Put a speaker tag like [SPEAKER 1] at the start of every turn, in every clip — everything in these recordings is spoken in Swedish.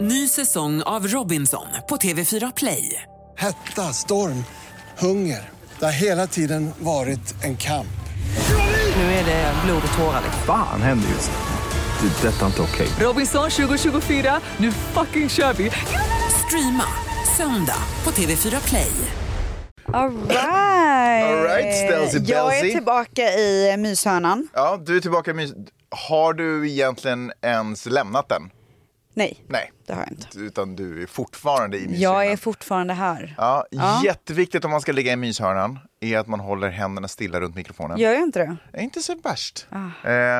[SPEAKER 1] Ny säsong av Robinson på TV4 Play.
[SPEAKER 2] Hetta, storm, hunger. Det har hela tiden varit en kamp.
[SPEAKER 1] Nu är det blod och tårar. liksom.
[SPEAKER 3] Fan händer just nu. Det. är Detta är inte okej.
[SPEAKER 1] Robinson 2024, nu fucking kör vi! Streama söndag på TV4 Play.
[SPEAKER 4] Alright!
[SPEAKER 5] All right, Stelzy
[SPEAKER 4] Jag är
[SPEAKER 5] Belzy.
[SPEAKER 4] tillbaka i myshörnan.
[SPEAKER 5] Ja, du är tillbaka i mys. Har du egentligen ens lämnat den?
[SPEAKER 4] Nej,
[SPEAKER 5] Nej,
[SPEAKER 4] det har jag inte.
[SPEAKER 5] utan du är fortfarande i myshörnan.
[SPEAKER 4] Jag är fortfarande här.
[SPEAKER 5] ja,
[SPEAKER 4] Ja.
[SPEAKER 5] Jätteviktigt om man ska ligga i myshörnan är att man håller händerna stilla runt mikrofonen.
[SPEAKER 4] Gör jag inte det?
[SPEAKER 5] Det är inte så värst.
[SPEAKER 4] Ah.
[SPEAKER 5] Eh,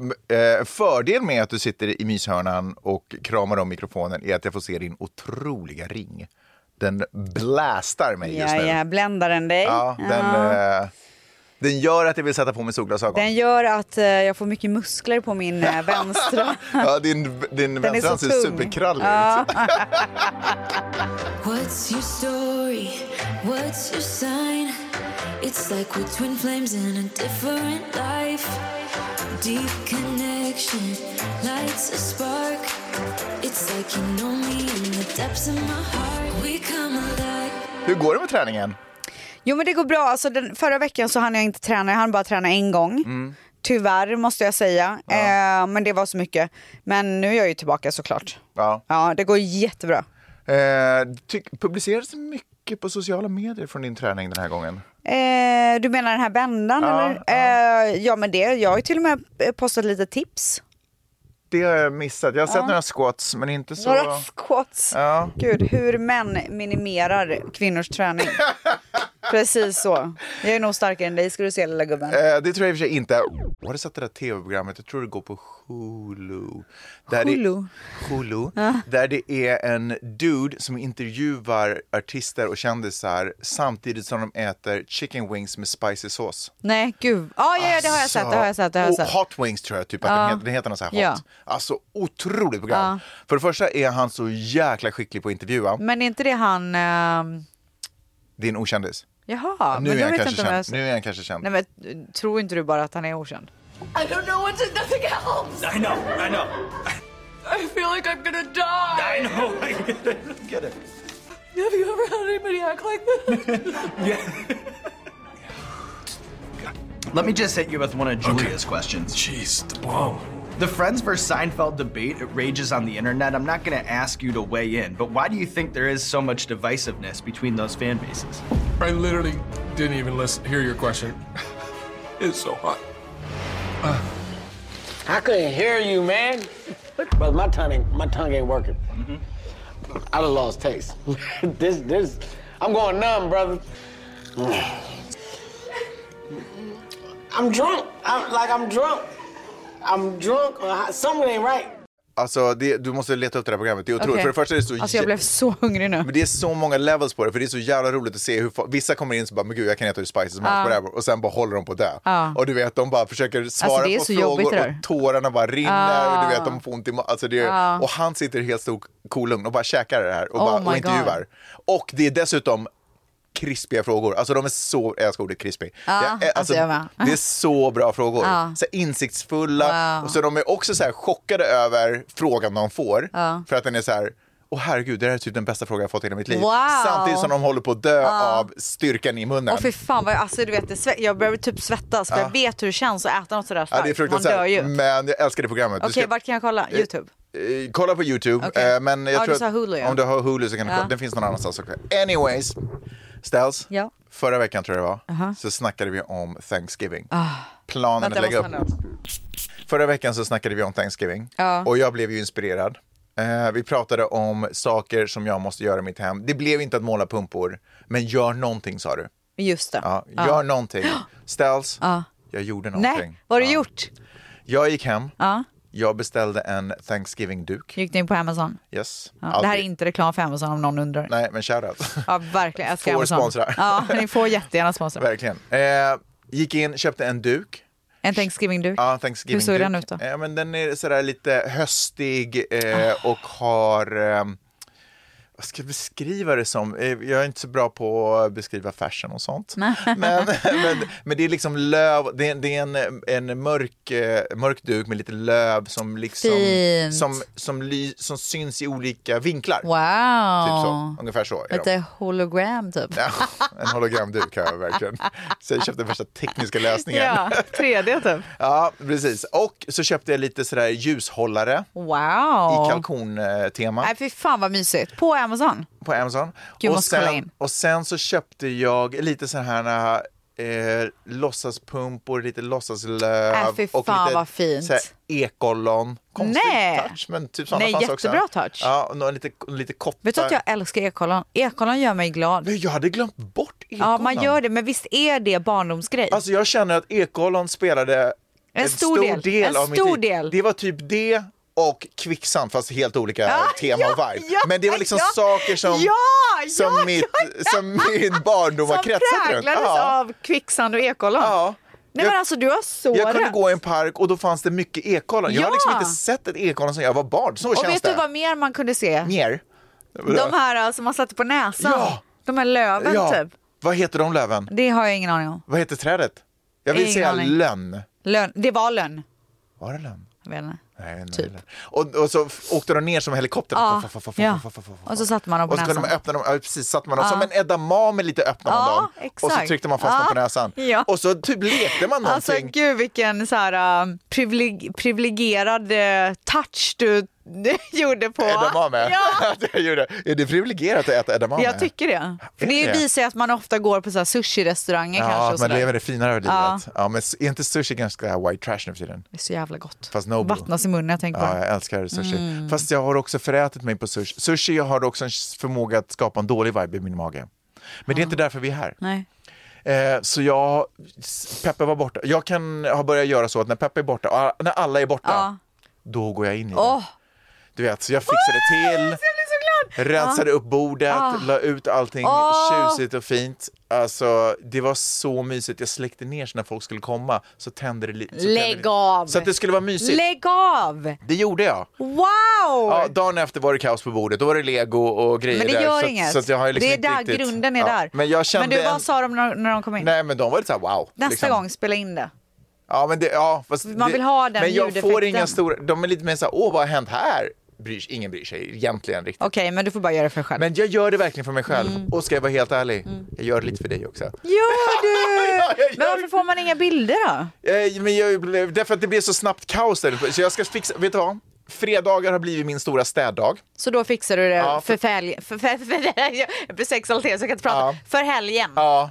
[SPEAKER 5] m- eh, fördel med att du sitter i myshörnan och kramar om mikrofonen är att jag får se din otroliga ring. Den blästar mig just
[SPEAKER 4] Ja,
[SPEAKER 5] nu.
[SPEAKER 4] ja, bländar den dig?
[SPEAKER 5] Ja, den,
[SPEAKER 4] Ja.
[SPEAKER 5] eh, den gör att jag vill sätta på mig solglasögon.
[SPEAKER 4] Den gör att eh, jag får mycket muskler på min eh, vänstra.
[SPEAKER 5] Ja, din din
[SPEAKER 4] Den är så
[SPEAKER 5] vänstra hand ser
[SPEAKER 4] tung.
[SPEAKER 5] superkrallig ut.
[SPEAKER 6] What's your story? What's your sign? It's like we're twin flames in a different life. Deep connection lights a spark. It's like you know me in the depths of my heart. We come alive.
[SPEAKER 5] Hur går det med träningen?
[SPEAKER 4] Jo men det går bra. Alltså, den, förra veckan så hann jag inte träna, jag hann bara träna en gång.
[SPEAKER 5] Mm.
[SPEAKER 4] Tyvärr måste jag säga. Eh, men det var så mycket. Men nu är jag ju tillbaka såklart.
[SPEAKER 5] Ja.
[SPEAKER 4] Ja, det går jättebra.
[SPEAKER 5] Eh, tyck- publiceras det mycket på sociala medier från din träning den här gången?
[SPEAKER 4] Eh, du menar den här bändan
[SPEAKER 5] Ja,
[SPEAKER 4] eller? Eh, ja men det, jag har ju till och med eh, postat lite tips.
[SPEAKER 5] Det har jag missat. Jag har sett några squats, men inte så...
[SPEAKER 4] Några squats.
[SPEAKER 5] Ja.
[SPEAKER 4] Gud, hur män minimerar kvinnors träning. Precis så. Jag är nog starkare än dig ska du se lilla gubben.
[SPEAKER 5] Eh, det tror jag i och för sig inte. Har du sett det där tv-programmet? Jag tror det går på Hulu. Där
[SPEAKER 4] Hulu?
[SPEAKER 5] Det, Hulu. Där det är en dude som intervjuar artister och kändisar samtidigt som de äter chicken wings med spicy sås.
[SPEAKER 4] Nej gud. Ah, ja, ja det har jag sett, det har jag sett, det har jag
[SPEAKER 5] Alltså, Och
[SPEAKER 4] sett.
[SPEAKER 5] Hot Wings tror jag typ att den heter. Den heter något så här hot.
[SPEAKER 4] Ja.
[SPEAKER 5] Alltså otroligt program. För det första är han så jäkla skicklig på att intervjua.
[SPEAKER 4] Men är inte det han... ehm,
[SPEAKER 5] Din okändis.
[SPEAKER 4] Jaha,
[SPEAKER 5] nu,
[SPEAKER 4] men
[SPEAKER 5] är
[SPEAKER 4] jag
[SPEAKER 5] han
[SPEAKER 4] vet inte
[SPEAKER 5] kanske
[SPEAKER 4] om jag...
[SPEAKER 5] känd. nu är han kanske känd.
[SPEAKER 4] Nej men eh, tror inte du bara att han är okänd?
[SPEAKER 7] I don't know what to, nothing helps.
[SPEAKER 8] I know, I know, Oh
[SPEAKER 7] I feel like I'm gonna die.
[SPEAKER 8] I know. I get it. I get it.
[SPEAKER 7] Have you ever had anybody act like this?
[SPEAKER 9] Let me just hit you with one of Julia's questions.
[SPEAKER 8] Jeez. Whoa.
[SPEAKER 9] The Friends vs. Seinfeld debate it rages on the internet. I'm not going to ask you to weigh in, but why do you think there is so much divisiveness between those fan bases?
[SPEAKER 8] I literally didn't even listen, hear your question. It's so hot.
[SPEAKER 10] I couldn't hear you, man. But my tongue, ain't, my tongue ain't working. I done lost taste. this, this, I'm going numb, brother. I'm drunk. I'm like I'm drunk. I'm drunk. or I- Something ain't right.
[SPEAKER 5] Alltså, det, du måste leta upp det här programmet. Det är otroligt.
[SPEAKER 4] Okej.
[SPEAKER 5] För det första är det så...
[SPEAKER 4] Alltså jag
[SPEAKER 5] jä-
[SPEAKER 4] blev så hungrig nu.
[SPEAKER 5] Men det är så många levels på det, för det är så jävla roligt att se hur fa- vissa kommer in och bara, men gud jag kan äta hur spicy som helst, whatever. Och sen bara håller de på det. Och du vet, de bara försöker svara
[SPEAKER 4] Alltså, det är
[SPEAKER 5] på
[SPEAKER 4] så jobbigt
[SPEAKER 5] frågor
[SPEAKER 4] det
[SPEAKER 5] och
[SPEAKER 4] där. Ah.
[SPEAKER 5] tårarna bara rinner och du vet, de får ont i ma- alltså det är, Och han sitter helt stor cool lugn och bara käkar det här och,
[SPEAKER 4] Oh
[SPEAKER 5] bara,
[SPEAKER 4] my
[SPEAKER 5] och intervjuar. Och det är dessutom krispiga frågor. Alltså de är så, jag älskar ordet crispy.
[SPEAKER 4] Ja,
[SPEAKER 5] jag, eh,
[SPEAKER 4] alltså, jag med.
[SPEAKER 5] det är så bra frågor. Så här insiktsfulla. Och så de är också så här chockade över frågan de får. För att den är så här, åh herregud, det här är typ den bästa frågan jag fått i hela mitt liv.
[SPEAKER 4] Wow.
[SPEAKER 5] Samtidigt som de håller på att dö av styrkan i munnen.
[SPEAKER 4] Åh fy fan, vad jag, alltså, du vet, det svett, jag börjar typ svettas för jag vet hur det känns att äta något sådär
[SPEAKER 5] ja, det är
[SPEAKER 4] starkt. Man dör ju.
[SPEAKER 5] fruktansvärt.
[SPEAKER 4] Okej,
[SPEAKER 5] Men jag älskar det programmet. Du ska-
[SPEAKER 4] vart kan jag kolla? Youtube?
[SPEAKER 5] Eh, kolla på Youtube.
[SPEAKER 4] Okej.
[SPEAKER 5] Eh, men jag
[SPEAKER 4] Ja,
[SPEAKER 5] tror
[SPEAKER 4] du sa
[SPEAKER 5] att
[SPEAKER 4] Hulu, ja.
[SPEAKER 5] Om du har Hulu så kan du kolla. Den finns någon annanstans också. Anyways, Stels.
[SPEAKER 4] Ja.
[SPEAKER 5] Förra veckan tror jag det var, så snackade vi om Thanksgiving.
[SPEAKER 4] Ah.
[SPEAKER 5] Planen att lägga upp. Förra veckan så snackade vi om Thanksgiving
[SPEAKER 4] Ja.
[SPEAKER 5] och jag blev ju inspirerad. Eh, vi pratade om saker som jag måste göra i mitt hem. Det blev inte att måla pumpor, men gör någonting sa du.
[SPEAKER 4] Just det.
[SPEAKER 5] Ja, gör någonting. Ställs, jag gjorde någonting.
[SPEAKER 4] Nej, vad har du
[SPEAKER 5] Ja.
[SPEAKER 4] gjort?
[SPEAKER 5] Jag gick hem,
[SPEAKER 4] Ja.
[SPEAKER 5] jag beställde en Thanksgiving-duk.
[SPEAKER 4] Gick ni in på Amazon?
[SPEAKER 5] Yes.
[SPEAKER 4] Ja. Det här är
[SPEAKER 5] Alltid.
[SPEAKER 4] inte reklam för Amazon om någon undrar.
[SPEAKER 5] Nej, men shoutout.
[SPEAKER 4] Ja, verkligen. Jag älskar
[SPEAKER 5] Får
[SPEAKER 4] Amazon.
[SPEAKER 5] sponsrar.
[SPEAKER 4] Ja, ni får jättegärna sponsra.
[SPEAKER 5] Verkligen. Eh, gick in, köpte en duk.
[SPEAKER 4] En Thanksgiving-duk.
[SPEAKER 5] Ja, Thanksgiving
[SPEAKER 4] Hur såg den ut då?
[SPEAKER 5] Eh,
[SPEAKER 4] Ah.
[SPEAKER 5] men den är sådär lite höstig eh, och har... Eh, ehm, vad ska jag beskriva det som? Eh, Jag är inte så bra på att beskriva fashion och sånt. men, men, men det är liksom löv, det är, det är en, en mörk, eh, mörk duk med lite löv som liksom
[SPEAKER 4] Fint.
[SPEAKER 5] som, som, ly, som syns i olika vinklar.
[SPEAKER 4] Wow.
[SPEAKER 5] Typ så, ungefär så. Är de.
[SPEAKER 4] Lite hologram typ.
[SPEAKER 5] Ja, en hologramduk har jag verkligen. Så jag köpte värsta tekniska lösningen.
[SPEAKER 11] Ja, 3D typ.
[SPEAKER 5] Ja, precis. Och så köpte jag lite sådär ljushållare
[SPEAKER 4] Wow.
[SPEAKER 5] i kalkontema
[SPEAKER 4] Nej, fy fan vad mysigt. På Amazon.
[SPEAKER 5] på Amazon.
[SPEAKER 4] Äh, Gud,
[SPEAKER 5] och,
[SPEAKER 4] måste kolla in.
[SPEAKER 5] sen, och sen så köpte jag lite så här eh, låtsaspumpor, lite
[SPEAKER 4] Äh,
[SPEAKER 5] låtsaslöv
[SPEAKER 4] fy
[SPEAKER 5] och
[SPEAKER 4] fan,
[SPEAKER 5] lite
[SPEAKER 4] vad fint.
[SPEAKER 5] så här ekollon. Konstig
[SPEAKER 4] Nej.
[SPEAKER 5] touch, men typ såna
[SPEAKER 4] Nej,
[SPEAKER 5] fanns också.
[SPEAKER 4] jättebra touch.
[SPEAKER 5] Ja, och några lite, lite kottar.
[SPEAKER 4] Vet du att jag älskar ekollon? Ekollon gör mig glad.
[SPEAKER 5] Men jag hade glömt bort ekollon.
[SPEAKER 4] Ja, man gör det, men visst är det barndomsgrej?
[SPEAKER 5] Alltså jag känner att ekollon spelade
[SPEAKER 4] En stor del. En
[SPEAKER 5] av min
[SPEAKER 4] stor
[SPEAKER 5] tid.
[SPEAKER 4] del.
[SPEAKER 5] Det var typ det och kvicksand fast helt olika
[SPEAKER 4] Ja,
[SPEAKER 5] tema och
[SPEAKER 4] ja,
[SPEAKER 5] vibe.
[SPEAKER 4] ja,
[SPEAKER 5] Men det var liksom
[SPEAKER 4] ja.
[SPEAKER 5] saker som,
[SPEAKER 4] Ja,
[SPEAKER 5] som,
[SPEAKER 4] ja,
[SPEAKER 5] mitt,
[SPEAKER 4] ja,
[SPEAKER 5] som min barndom har
[SPEAKER 4] Som
[SPEAKER 5] kretsat runt.
[SPEAKER 4] präglades av kvicksand och ekollon.
[SPEAKER 5] Ja.
[SPEAKER 4] Nej
[SPEAKER 5] Jag-
[SPEAKER 4] men alltså du har så
[SPEAKER 5] Jag kunde
[SPEAKER 4] rätt.
[SPEAKER 5] gå i en park och då fanns det mycket ekollon. Jag har
[SPEAKER 4] Ja.
[SPEAKER 5] liksom inte sett ett ekollon sedan jag var barn. Så
[SPEAKER 4] Och
[SPEAKER 5] känns
[SPEAKER 4] vet
[SPEAKER 5] det.
[SPEAKER 4] du vad mer man kunde se?
[SPEAKER 5] Mer.
[SPEAKER 4] De här eh, som man satte på näsan.
[SPEAKER 5] Ja.
[SPEAKER 4] De här löven
[SPEAKER 5] ja.
[SPEAKER 4] typ.
[SPEAKER 5] Vad heter de löven?
[SPEAKER 4] Det har jag ingen aning om.
[SPEAKER 5] Vad heter trädet? Jag vill
[SPEAKER 4] Ingen
[SPEAKER 5] säga
[SPEAKER 4] aning.
[SPEAKER 5] lönn.
[SPEAKER 4] Lön. Det var lön.
[SPEAKER 5] Var det lönn?
[SPEAKER 4] Jag vet inte.
[SPEAKER 5] Nej, nej,
[SPEAKER 4] Typ.
[SPEAKER 5] nej. Och, och så f- åkte de ner som helikopter.
[SPEAKER 4] Ja.
[SPEAKER 5] Fa, fa, fa, fa,
[SPEAKER 4] Ja.
[SPEAKER 5] fa, fa, fa, fa.
[SPEAKER 4] Och så satte man dem på
[SPEAKER 5] Och så kunde
[SPEAKER 4] näsan.
[SPEAKER 5] man öppna dem, ja, precis, satte man dem som en edamame lite öppnade man
[SPEAKER 4] Ja,
[SPEAKER 5] dem. Och så
[SPEAKER 4] exakt.
[SPEAKER 5] tryckte man fast dem på
[SPEAKER 4] Ja.
[SPEAKER 5] näsan.
[SPEAKER 4] Ja.
[SPEAKER 5] Och så typ lekte man
[SPEAKER 4] Alltså
[SPEAKER 5] någonting.
[SPEAKER 4] gud vilken så här, eh, privileg- privilegierad eh, touch du gjorde på.
[SPEAKER 5] edamame.
[SPEAKER 4] Ja.
[SPEAKER 5] jag gjorde. Är det privilegierat att äta edamame?
[SPEAKER 4] Jag tycker det. För det
[SPEAKER 5] det?
[SPEAKER 4] visar ju att man ofta går på så här sushi-restauranger kanske.
[SPEAKER 5] Ja,
[SPEAKER 4] och
[SPEAKER 5] att man
[SPEAKER 4] sådär.
[SPEAKER 5] lever det finare livet.
[SPEAKER 4] Ja.
[SPEAKER 5] Ja. men s- är inte sushi ganska white trash nu för tiden?
[SPEAKER 4] Det är så jävla gott.
[SPEAKER 5] Fast Nobu.
[SPEAKER 4] Vattnas i munnen när jag tänker på
[SPEAKER 5] Ja,
[SPEAKER 4] det.
[SPEAKER 5] jag älskar sushi.
[SPEAKER 4] Mm.
[SPEAKER 5] Fast jag har också förätit mig på sushi. Sushi har också en förmåga att skapa en dålig vibe i min mage. Men det är inte därför vi är här.
[SPEAKER 4] Ah. Nej.
[SPEAKER 5] Eh, så jag, Peppe var borta. Jag kan ha börjat göra så att när Peppe är borta, ah, när alla är borta,
[SPEAKER 4] Ja.
[SPEAKER 5] då går jag in i det.
[SPEAKER 4] Åh,
[SPEAKER 5] Du vet, så jag fixade till,
[SPEAKER 4] jag blir så glad!
[SPEAKER 5] rensade upp bordet, la ut allting
[SPEAKER 4] Ah. Åh.
[SPEAKER 5] tjusigt och fint. Alltså, det var så mysigt. Jag släckte ner så när folk skulle komma så tände det lite.
[SPEAKER 4] Lägg av.
[SPEAKER 5] Så att det skulle vara mysigt.
[SPEAKER 4] Lägg av!
[SPEAKER 5] det gjorde jag.
[SPEAKER 4] Wow!
[SPEAKER 5] Ja, dagen efter var det kaos på bordet, då var det lego och grejer
[SPEAKER 4] men det
[SPEAKER 5] där,
[SPEAKER 4] gör
[SPEAKER 5] så, att-
[SPEAKER 4] inget.
[SPEAKER 5] Så att jag har ju liksom
[SPEAKER 4] det är
[SPEAKER 5] inte
[SPEAKER 4] där
[SPEAKER 5] riktigt...
[SPEAKER 4] grunden är
[SPEAKER 5] Ja,
[SPEAKER 4] där.
[SPEAKER 5] Men jag kände...
[SPEAKER 4] du, vad
[SPEAKER 5] en-
[SPEAKER 4] sa de när, när de kom in?
[SPEAKER 5] Nej men de var lite såhär wow.
[SPEAKER 4] Nästa
[SPEAKER 5] liksom.
[SPEAKER 4] gång, spela in det.
[SPEAKER 5] Ja, men det, ja, fast
[SPEAKER 4] Man
[SPEAKER 5] det-
[SPEAKER 4] vill ha den
[SPEAKER 5] Men jag får
[SPEAKER 4] ljudeffekten.
[SPEAKER 5] inga stora, de är lite mer såhär, åh vad har hänt här? Bryr, ingen bryr sig egentligen riktigt.
[SPEAKER 4] Okej, men du får bara göra det för dig själv.
[SPEAKER 5] Men jag gör det verkligen för mig själv.
[SPEAKER 4] Mm.
[SPEAKER 5] Och ska jag vara helt ärlig, jag gör det lite för dig också.
[SPEAKER 4] Gör du?
[SPEAKER 5] Ja, jag
[SPEAKER 4] Men
[SPEAKER 5] gör-
[SPEAKER 4] varför får man inga bilder då?
[SPEAKER 5] Eh, men jag, blev- därför att det blir så snabbt kaos där. Så jag ska fixa, vet du vad? Fredagar har blivit min stora städdag.
[SPEAKER 4] Så då fixar du det
[SPEAKER 5] Ja,
[SPEAKER 4] för,
[SPEAKER 5] för-
[SPEAKER 4] fälg... För, för, för, jag blir så exalterad så jag kan inte prata.
[SPEAKER 5] Ja.
[SPEAKER 4] För helgen.
[SPEAKER 5] Ja.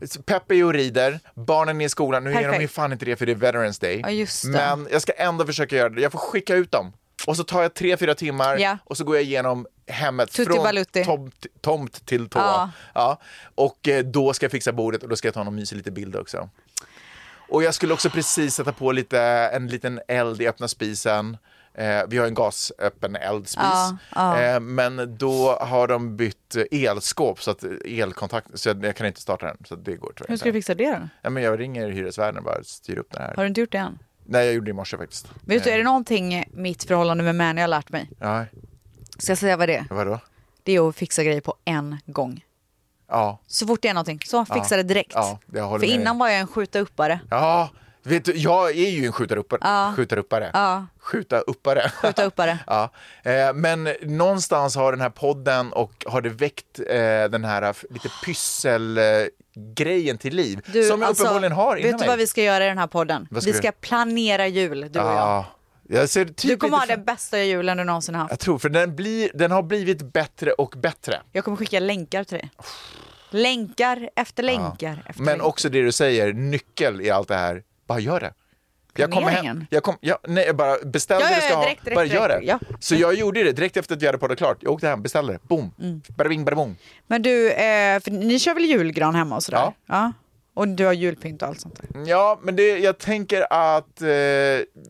[SPEAKER 4] ja.
[SPEAKER 5] Så Peppe är och rider, barnen är i skolan. Nu är de ju
[SPEAKER 4] Perfekt.
[SPEAKER 5] fan inte det för det är Veterans Day.
[SPEAKER 4] Ja, just det.
[SPEAKER 5] Men jag ska ändå försöka göra det. Jag får skicka ut dem. Och så tar jag tre, fyra timmar
[SPEAKER 4] Ja.
[SPEAKER 5] och så går jag igenom hemmet
[SPEAKER 4] Tutti
[SPEAKER 5] från
[SPEAKER 4] Balutti.
[SPEAKER 5] tomt, tomt till tå.
[SPEAKER 4] Ja.
[SPEAKER 5] Ja. Och eh, då ska jag fixa bordet och då ska jag ta någon mysig lite bild också. Och jag skulle också precis sätta på lite, en liten eld i öppna spisen. Eh, vi har en gasöppen eldspis.
[SPEAKER 4] Ja, ja.
[SPEAKER 5] Eh, men då har de bytt elskåp så att elkontakt, så jag, jag kan inte starta den. Så det går tyvärr
[SPEAKER 4] Hur ska du
[SPEAKER 5] inte.
[SPEAKER 4] fixa det då?
[SPEAKER 5] Ja, men jag ringer hyresvärden och bara styr upp det här.
[SPEAKER 4] Har du inte gjort det än?
[SPEAKER 5] Nej, jag gjorde det i morse faktiskt.
[SPEAKER 4] Vet du, är det någonting mitt förhållande med Mani har lärt mig?
[SPEAKER 5] Ja,
[SPEAKER 4] Ska jag säga vad det är?
[SPEAKER 5] vadå?
[SPEAKER 4] Det är att fixa grejer på en gång.
[SPEAKER 5] Ja.
[SPEAKER 4] Så fort det är någonting, så fixa
[SPEAKER 5] Ja.
[SPEAKER 4] det direkt.
[SPEAKER 5] Ja, jag håller
[SPEAKER 4] För
[SPEAKER 5] med dig.
[SPEAKER 4] innan var jag en skjuta uppare.
[SPEAKER 5] Ja, vet du, jag är ju en skjutaruppare.
[SPEAKER 4] Ja.
[SPEAKER 5] Skjutaruppare.
[SPEAKER 4] Ja.
[SPEAKER 5] Skjutaruppare.
[SPEAKER 4] Skjutaruppare.
[SPEAKER 5] ja. eh, men någonstans har den här podden och har det väckt eh, den här f- lite pysselgrejen till liv. som jag
[SPEAKER 4] alltså,
[SPEAKER 5] uppenbarligen har inom
[SPEAKER 4] Vet du vad vi ska göra i den här podden?
[SPEAKER 5] Vad ska
[SPEAKER 4] Vi
[SPEAKER 5] vi
[SPEAKER 4] ska
[SPEAKER 5] göra?
[SPEAKER 4] planera jul, du och jag.
[SPEAKER 5] ja. jag ser typ
[SPEAKER 4] Du kommer
[SPEAKER 5] lite
[SPEAKER 4] ha
[SPEAKER 5] fram-
[SPEAKER 4] den bästa julen du någonsin haft.
[SPEAKER 5] Jag tror, för den, blir, den har blivit bättre och bättre.
[SPEAKER 4] Jag kommer skicka länkar till dig. Länkar efter länkar efter
[SPEAKER 5] Men
[SPEAKER 4] länkar.
[SPEAKER 5] också det du säger, nyckel i allt det här, bara gör det. Jag kommer
[SPEAKER 4] Planeringen.
[SPEAKER 5] hem, jag kom, jag, nej, jag bara beställde
[SPEAKER 4] Ja, ja,
[SPEAKER 5] det du
[SPEAKER 4] ja,
[SPEAKER 5] ska
[SPEAKER 4] direkt, direkt,
[SPEAKER 5] ha, bara gör
[SPEAKER 4] direkt,
[SPEAKER 5] det.
[SPEAKER 4] ja.
[SPEAKER 5] Så jag gjorde det direkt efter att vi hade poddat klart. Jag åkte hem, beställde det, boom,
[SPEAKER 4] Mm.
[SPEAKER 5] bada bing, bada bong.
[SPEAKER 4] Men du, eh, för ni kör väl julgran hemma och sådär?
[SPEAKER 5] Ja.
[SPEAKER 4] Och du har julpynt och allt sånt där.
[SPEAKER 5] Ja, men det, jag tänker att eh,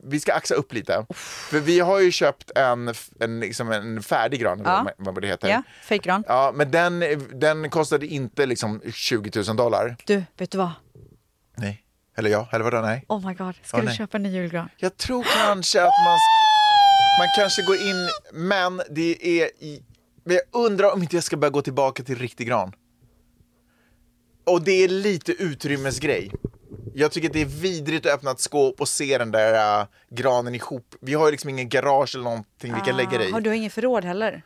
[SPEAKER 5] vi ska axa upp lite. För vi har ju köpt en, f- en, liksom en färdig gran,
[SPEAKER 4] Ja.
[SPEAKER 5] vad, man- vad det heter.
[SPEAKER 4] Ja, fejkgran.
[SPEAKER 5] Ja, men den, den kostade inte liksom 20 000 dollar.
[SPEAKER 4] Du, vet du vad?
[SPEAKER 5] Nej. Eller ja, eller vadå, nej.
[SPEAKER 4] Oh my god, ska
[SPEAKER 5] Åh,
[SPEAKER 4] du
[SPEAKER 5] nej.
[SPEAKER 4] köpa en ny julgran?
[SPEAKER 5] Jag tror kanske att man, man kanske går in, men det är i, Men jag undrar om inte jag ska börja gå tillbaka till riktig gran. Och det är lite utrymmesgrej. Jag tycker att det är vidrigt att öppna ett skåp och se den där äh, granen ihop. Vi har ju liksom ingen garage eller någonting vi kan lägga det i.
[SPEAKER 4] Ah, Har du har ingen förråd heller?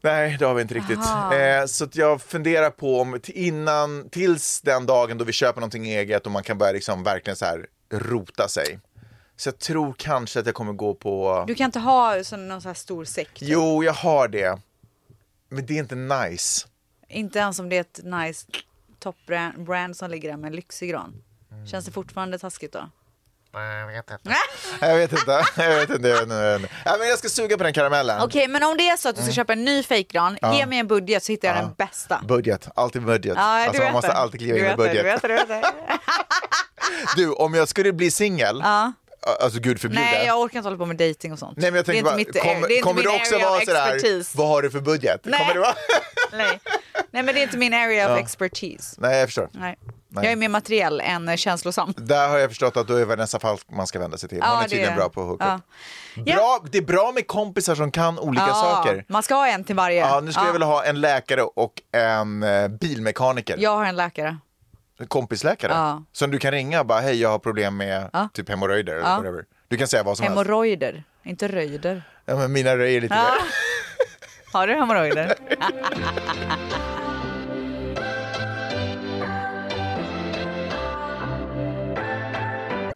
[SPEAKER 5] Nej, det har vi inte riktigt.
[SPEAKER 4] Aha.
[SPEAKER 5] Eh, så att jag funderar på om till- innan, tills den dagen då vi köper någonting eget och man kan börja liksom verkligen så här rota sig. Så jag tror kanske att jag kommer gå på...
[SPEAKER 4] Du kan inte ha sån, någon sån här stor säck? typ.
[SPEAKER 5] Jo, jag har det. Men det är inte nice.
[SPEAKER 4] Inte ens om det är ett nice topbrand brand som ligger där med en lyxig gran. Känns det fortfarande taskigt då?
[SPEAKER 5] Nej, jag vet inte. jag vet inte. Jag vet inte. Jag vet inte. Jag, vet inte. Nej, men jag ska suga på den karamellen.
[SPEAKER 4] Okej, men om det är så att du ska köpa en ny fejkgran,
[SPEAKER 5] Mm. Ja.
[SPEAKER 4] ge mig en budget så hittar jag
[SPEAKER 5] Ja.
[SPEAKER 4] den bästa.
[SPEAKER 5] Budget, alltid budget.
[SPEAKER 4] Ja, du
[SPEAKER 5] alltså, man
[SPEAKER 4] vet
[SPEAKER 5] måste
[SPEAKER 4] det.
[SPEAKER 5] alltid kliva
[SPEAKER 4] Du
[SPEAKER 5] in med
[SPEAKER 4] vet det,
[SPEAKER 5] budget.
[SPEAKER 4] Du vet det, du vet det.
[SPEAKER 5] Du, om jag skulle bli singel,
[SPEAKER 4] Ja.
[SPEAKER 5] alltså gud förbjude.
[SPEAKER 4] Nej, jag orkar inte hålla på med dating och sånt.
[SPEAKER 5] Nej men jag
[SPEAKER 4] det är
[SPEAKER 5] tänker
[SPEAKER 4] inte
[SPEAKER 5] bara,
[SPEAKER 4] mitt,
[SPEAKER 5] kommer,
[SPEAKER 4] det är inte
[SPEAKER 5] kommer
[SPEAKER 4] min
[SPEAKER 5] du också
[SPEAKER 4] area
[SPEAKER 5] vara
[SPEAKER 4] of expertise.
[SPEAKER 5] sådär, vad har du för budget?
[SPEAKER 4] Nej.
[SPEAKER 5] Kommer du vara?
[SPEAKER 4] Nej. Nej, men det är inte min area of
[SPEAKER 5] Ja.
[SPEAKER 4] expertise.
[SPEAKER 5] Nej jag förstår.
[SPEAKER 4] Nej.
[SPEAKER 5] Nej.
[SPEAKER 4] Jag är mer materiell än eh, känslosam.
[SPEAKER 5] Där har jag förstått att då är Vanessa Falk man ska vända sig till. Hon
[SPEAKER 4] Ja,
[SPEAKER 5] är tydligen
[SPEAKER 4] det-
[SPEAKER 5] bra på att hooka
[SPEAKER 4] ja.
[SPEAKER 5] upp. Bra, Det är bra med kompisar som kan olika
[SPEAKER 4] Ja,
[SPEAKER 5] saker.
[SPEAKER 4] Man ska ha en till varje.
[SPEAKER 5] Ja, nu skulle jag vilja ha en läkare och en eh, bilmekaniker.
[SPEAKER 4] Jag har en läkare.
[SPEAKER 5] En kompisläkare.
[SPEAKER 4] Ja.
[SPEAKER 5] Som du kan ringa och bara, hej jag har problem med typ hemorrojder eller
[SPEAKER 4] Ja.
[SPEAKER 5] whatever. Du kan säga vad
[SPEAKER 4] Alltså.
[SPEAKER 5] som helst.
[SPEAKER 4] Hemorrojder, inte röjder.
[SPEAKER 5] Ja, men mina röjer lite
[SPEAKER 4] Ja.
[SPEAKER 5] mer.
[SPEAKER 4] Har du hemorrojder?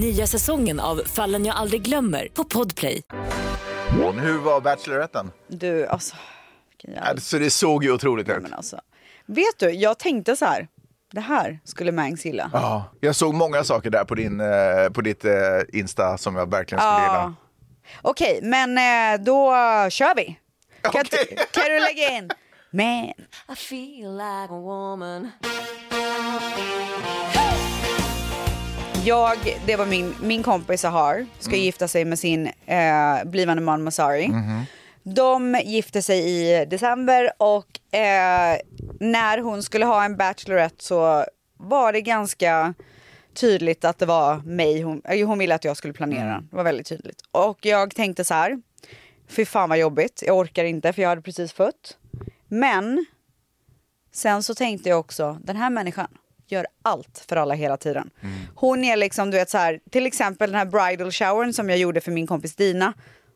[SPEAKER 12] Nya säsongen av Fallen jag aldrig glömmer på Podplay.
[SPEAKER 5] Hur var Bacheloretten?
[SPEAKER 4] Du, alltså. vilken jävla-
[SPEAKER 5] Alltså, det såg ju otroligt ut.
[SPEAKER 4] Vet du, jag tänkte så här. Det här skulle Mangs gilla.
[SPEAKER 5] Ja, jag såg många saker där på, din, eh, på ditt eh, Insta som jag verkligen skulle
[SPEAKER 4] Ja.
[SPEAKER 5] gilla.
[SPEAKER 4] Okej, men eh, då kör vi. Kan, du- kan du lägga in? Man.
[SPEAKER 6] I feel like a woman.
[SPEAKER 4] Jag, det var min, min kompis Sahar, ska gifta sig med sin eh, blivande man Masari. De gifte sig i december och eh, när hon skulle ha en bachelorette så var det ganska tydligt att det var mig hon, eh, hon ville att jag skulle planera. Det var väldigt tydligt. Och jag tänkte så här, fy fan vad jobbigt, jag orkar inte för jag hade precis fött. Men sen så tänkte jag också, den här människan gör allt för alla hela tiden.
[SPEAKER 5] Mm.
[SPEAKER 4] Hon är liksom, du vet så här, till exempel den här bridal showern som jag gjorde för min kompis Dina.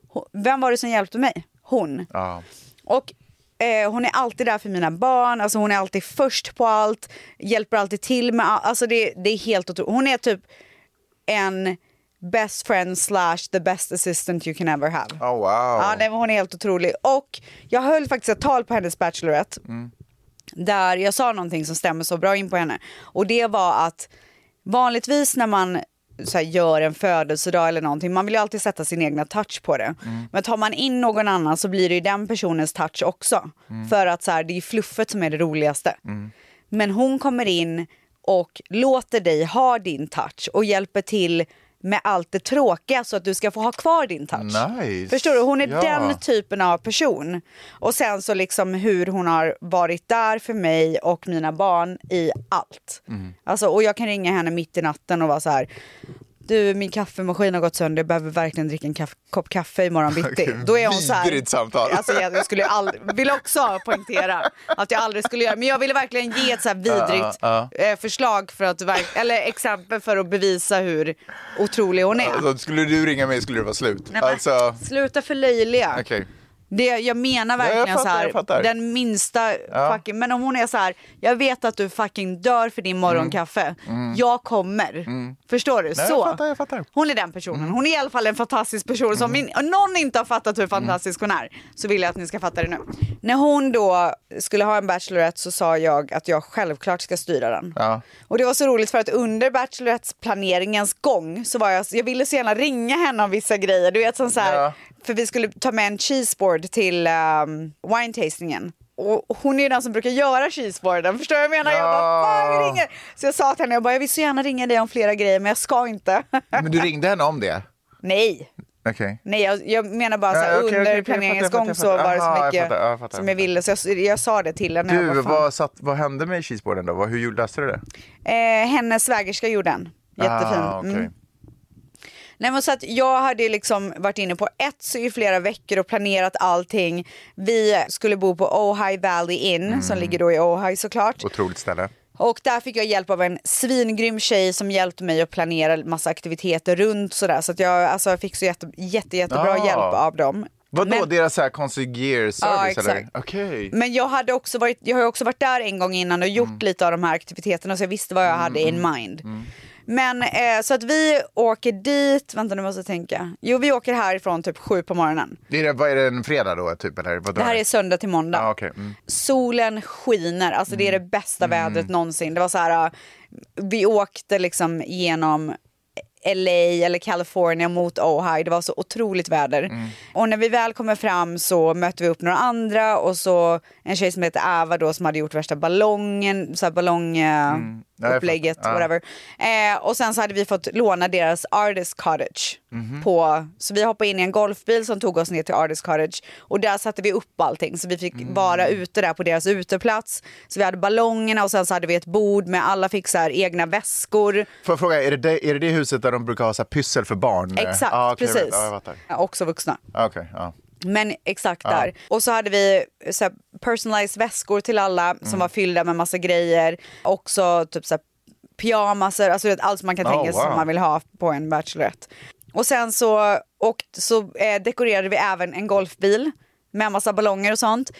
[SPEAKER 4] Hon, vem var det som hjälpte mig? Hon.
[SPEAKER 5] Ja.
[SPEAKER 4] Och eh, hon är alltid där för mina barn, alltså hon är alltid först på allt, hjälper alltid till med all- alltså det, det är helt otroligt. Hon är typ en best friend slash the best assistant you can ever have.
[SPEAKER 5] Oh, wow.
[SPEAKER 4] Ja, nej, men hon är helt otrolig. Och jag höll faktiskt ett tal på hennes bachelorette där jag sa någonting som stämmer så bra in på henne. Och det var att vanligtvis när man så här, gör en födelsedag eller någonting, man vill ju alltid sätta sin egna touch på det.
[SPEAKER 5] Mm.
[SPEAKER 4] Men tar man in någon annan så blir det ju den personens touch också.
[SPEAKER 13] Mm.
[SPEAKER 4] För att så här, det är fluffet som är det roligaste.
[SPEAKER 5] Mm.
[SPEAKER 4] Men hon kommer in och låter dig ha din touch och hjälper till med allt det tråkiga så att du ska få ha kvar din touch.
[SPEAKER 5] Nice.
[SPEAKER 4] Förstår du? Hon är
[SPEAKER 5] Ja.
[SPEAKER 4] den typen av person. Och sen så liksom hur hon har varit där för mig och mina barn i allt.
[SPEAKER 5] Mm.
[SPEAKER 4] Alltså, och jag kan ringa henne mitt i natten och vara så här. Du, min kaffemaskin har gått sönder. Jag behöver verkligen dricka en kaff- kopp kaffe imorgon bitti.
[SPEAKER 5] Okej,
[SPEAKER 4] Då är hon så här.
[SPEAKER 5] Vidrigt samtal.
[SPEAKER 4] Alltså, jag, jag skulle aldrig, vill också poängtera att jag aldrig skulle göra Men jag ville verkligen ge ett så här vidrigt
[SPEAKER 5] Ja,
[SPEAKER 4] eh, förslag för att, verk- eller exempel för att bevisa hur otrolig hon är.
[SPEAKER 5] Alltså, skulle du ringa mig skulle det vara slut.
[SPEAKER 4] Nej, men-
[SPEAKER 5] Alltså,
[SPEAKER 4] Sluta förlöjliga.
[SPEAKER 5] okej.
[SPEAKER 4] Det, jag menar
[SPEAKER 5] Ja, jag
[SPEAKER 4] verkligen
[SPEAKER 5] fattar, jag
[SPEAKER 4] så
[SPEAKER 5] fattar.
[SPEAKER 4] här, den minsta
[SPEAKER 5] Ja.
[SPEAKER 4] fucking, men om hon är så här, jag vet att du fucking dör för din morgonkaffe,
[SPEAKER 5] Mm.
[SPEAKER 4] jag kommer. Förstår du?
[SPEAKER 5] Nej, jag
[SPEAKER 4] så.
[SPEAKER 5] fattar, jag fattar. Mm.
[SPEAKER 4] Hon är den personen. Hon är i alla fall en fantastisk person. Så om min- om någon inte har fattat hur fantastisk hon är så vill jag att ni ska fatta det nu. När hon då skulle ha en bachelorette så sa jag att jag självklart ska styra den.
[SPEAKER 5] Ja.
[SPEAKER 4] Och det var så roligt för att under Bachelorettes-planeringens gång så var jag, jag ville så gärna ringa henne om vissa grejer. Du vet som så här, för vi skulle ta med en cheeseboard till um, wine-tastingen. ehm, och hon är ju den som brukar göra cheeseboarden, förstår du vad jag menar? Jag bara, fan jag ringer! Så jag sa till henne, jag bara, jag vill så gärna ringa dig om flera grejer men jag ska inte.
[SPEAKER 5] Men du ringde henne om det?
[SPEAKER 4] Nej,
[SPEAKER 5] Okej.
[SPEAKER 4] nej jag, jag menar bara så här,
[SPEAKER 5] Ja, okej, okej,
[SPEAKER 4] under
[SPEAKER 5] okej, jag
[SPEAKER 4] planeringens
[SPEAKER 5] fattar, jag
[SPEAKER 4] gång så
[SPEAKER 5] fattar,
[SPEAKER 4] var det
[SPEAKER 5] jag fattar.
[SPEAKER 4] så
[SPEAKER 5] Aha, jag
[SPEAKER 4] mycket
[SPEAKER 5] fattar, jag fattar,
[SPEAKER 4] som jag
[SPEAKER 5] jag
[SPEAKER 4] ville så jag, jag sa det till henne. jag
[SPEAKER 5] Du,
[SPEAKER 4] bara, fan.
[SPEAKER 5] vad, satt, vad hände med cheeseboarden då? Vad- Hur gjorde- löste du det?
[SPEAKER 4] Eh, hennes svägerska gjorde den. Jättefin.
[SPEAKER 5] Ah, okej.
[SPEAKER 4] Mm. Nej, men så att jag hade liksom varit inne på ett i flera veckor och planerat allting. Vi skulle bo på Ojai Valley Inn som ligger då i Ojai såklart.
[SPEAKER 5] Otroligt ställe.
[SPEAKER 4] Och där fick jag hjälp av en svingrym tjej som hjälpte mig att planera massa aktiviteter runt sådär. Så att jag, alltså, jag fick så jätte, jätte, jättebra
[SPEAKER 5] Ah.
[SPEAKER 4] hjälp av dem.
[SPEAKER 5] Vadå,
[SPEAKER 4] Men-
[SPEAKER 5] deras så här concierge service?
[SPEAKER 4] Ja,
[SPEAKER 5] eller?
[SPEAKER 4] exakt.
[SPEAKER 5] Okej.
[SPEAKER 4] Men jag, hade också varit, jag har ju också varit där en gång innan och
[SPEAKER 5] Mm.
[SPEAKER 4] gjort lite av de här aktiviteterna så jag visste vad jag hade in mind. Men eh, så att vi åker dit, vänta nu måste jag tänka. Jo vi åker härifrån typ sju på morgonen.
[SPEAKER 5] Det är, det- vad är det, en fredag då? Typ, eller? Vad
[SPEAKER 4] Det här är söndag till måndag.
[SPEAKER 5] ah, okay. mm.
[SPEAKER 4] Solen skiner, alltså det är det bästa vädret någonsin. Det var så här, äh, vi åkte liksom genom LA eller California mot Ohio. Det var så otroligt väder. Och när vi väl kommer fram så möter vi upp några andra och så en tjej som heter Ava då som hade gjort värsta ballongen, så här äh,
[SPEAKER 5] Ja, jag
[SPEAKER 4] ballongupplägget,
[SPEAKER 5] fattar. Ja.
[SPEAKER 4] whatever. Eh, och sen så hade vi fått låna deras Artist Cottage.
[SPEAKER 5] Mhm.
[SPEAKER 4] På, så vi hoppade in i en golfbil som tog oss ner till Artist Cottage och där satte vi upp allting. Så vi fick
[SPEAKER 5] Mm.
[SPEAKER 4] vara ute där på deras uteplats. Så vi hade ballongerna och sen så hade vi ett bord med alla fick så här egna väskor.
[SPEAKER 5] Får jag fråga, är det, det, är det det huset där de brukar ha så här pyssel för barn?
[SPEAKER 4] Exakt,
[SPEAKER 5] Ah, okej,
[SPEAKER 4] precis.
[SPEAKER 5] right. Ja, jag fattar.
[SPEAKER 4] Också vuxna.
[SPEAKER 5] Ah, Okej, ja.
[SPEAKER 4] Men exakt
[SPEAKER 5] Ja.
[SPEAKER 4] där. Och så hade vi så här, personalized väskor till alla
[SPEAKER 5] Mm.
[SPEAKER 4] som var fyllda med massa grejer. Också typ så här, pyjamaser, alltså du vet, allt som man kan
[SPEAKER 13] Oh,
[SPEAKER 4] tänka sig
[SPEAKER 13] wow.
[SPEAKER 4] som man vill ha på en bachelorette. Och sen så, och, så eh, dekorerade vi även en golfbil med massa ballonger och sånt.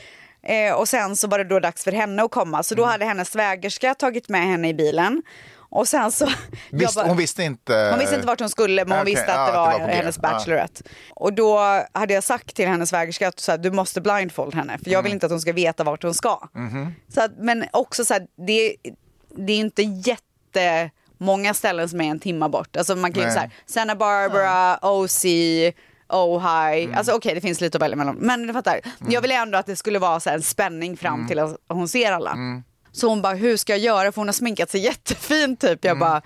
[SPEAKER 4] Eh, och sen så var det då dags för henne att komma. Så då
[SPEAKER 5] Mm.
[SPEAKER 4] hade hennes svägerska tagit med henne i bilen. Och sen så... jag
[SPEAKER 5] Visst,
[SPEAKER 4] bara-
[SPEAKER 5] hon visste inte...
[SPEAKER 4] hon visste inte vart hon skulle men hon
[SPEAKER 5] eh, Okej,
[SPEAKER 4] visste att
[SPEAKER 5] ja,
[SPEAKER 4] det var,
[SPEAKER 5] på G.
[SPEAKER 4] hennes
[SPEAKER 5] Ja.
[SPEAKER 4] bachelorette. Och då hade jag sagt till hennes svägerska att så här, du måste blindfold henne för jag vill inte att hon ska veta vart hon ska.
[SPEAKER 5] Mhm.
[SPEAKER 4] Så att, men också så här, det, det är inte jättemånga ställen som är en timma bort. Alltså man kan ju
[SPEAKER 13] Nej.
[SPEAKER 4] så här, Santa Barbara, OC, Ohio. Alltså okej det finns lite att välja mellan. Men du fattar, jag ville ändå att det skulle vara så här, en spänning fram till att hon ser alla. Så hon bara, hur ska jag göra? För hon har sminkat sig jättefint typ. Jag bara,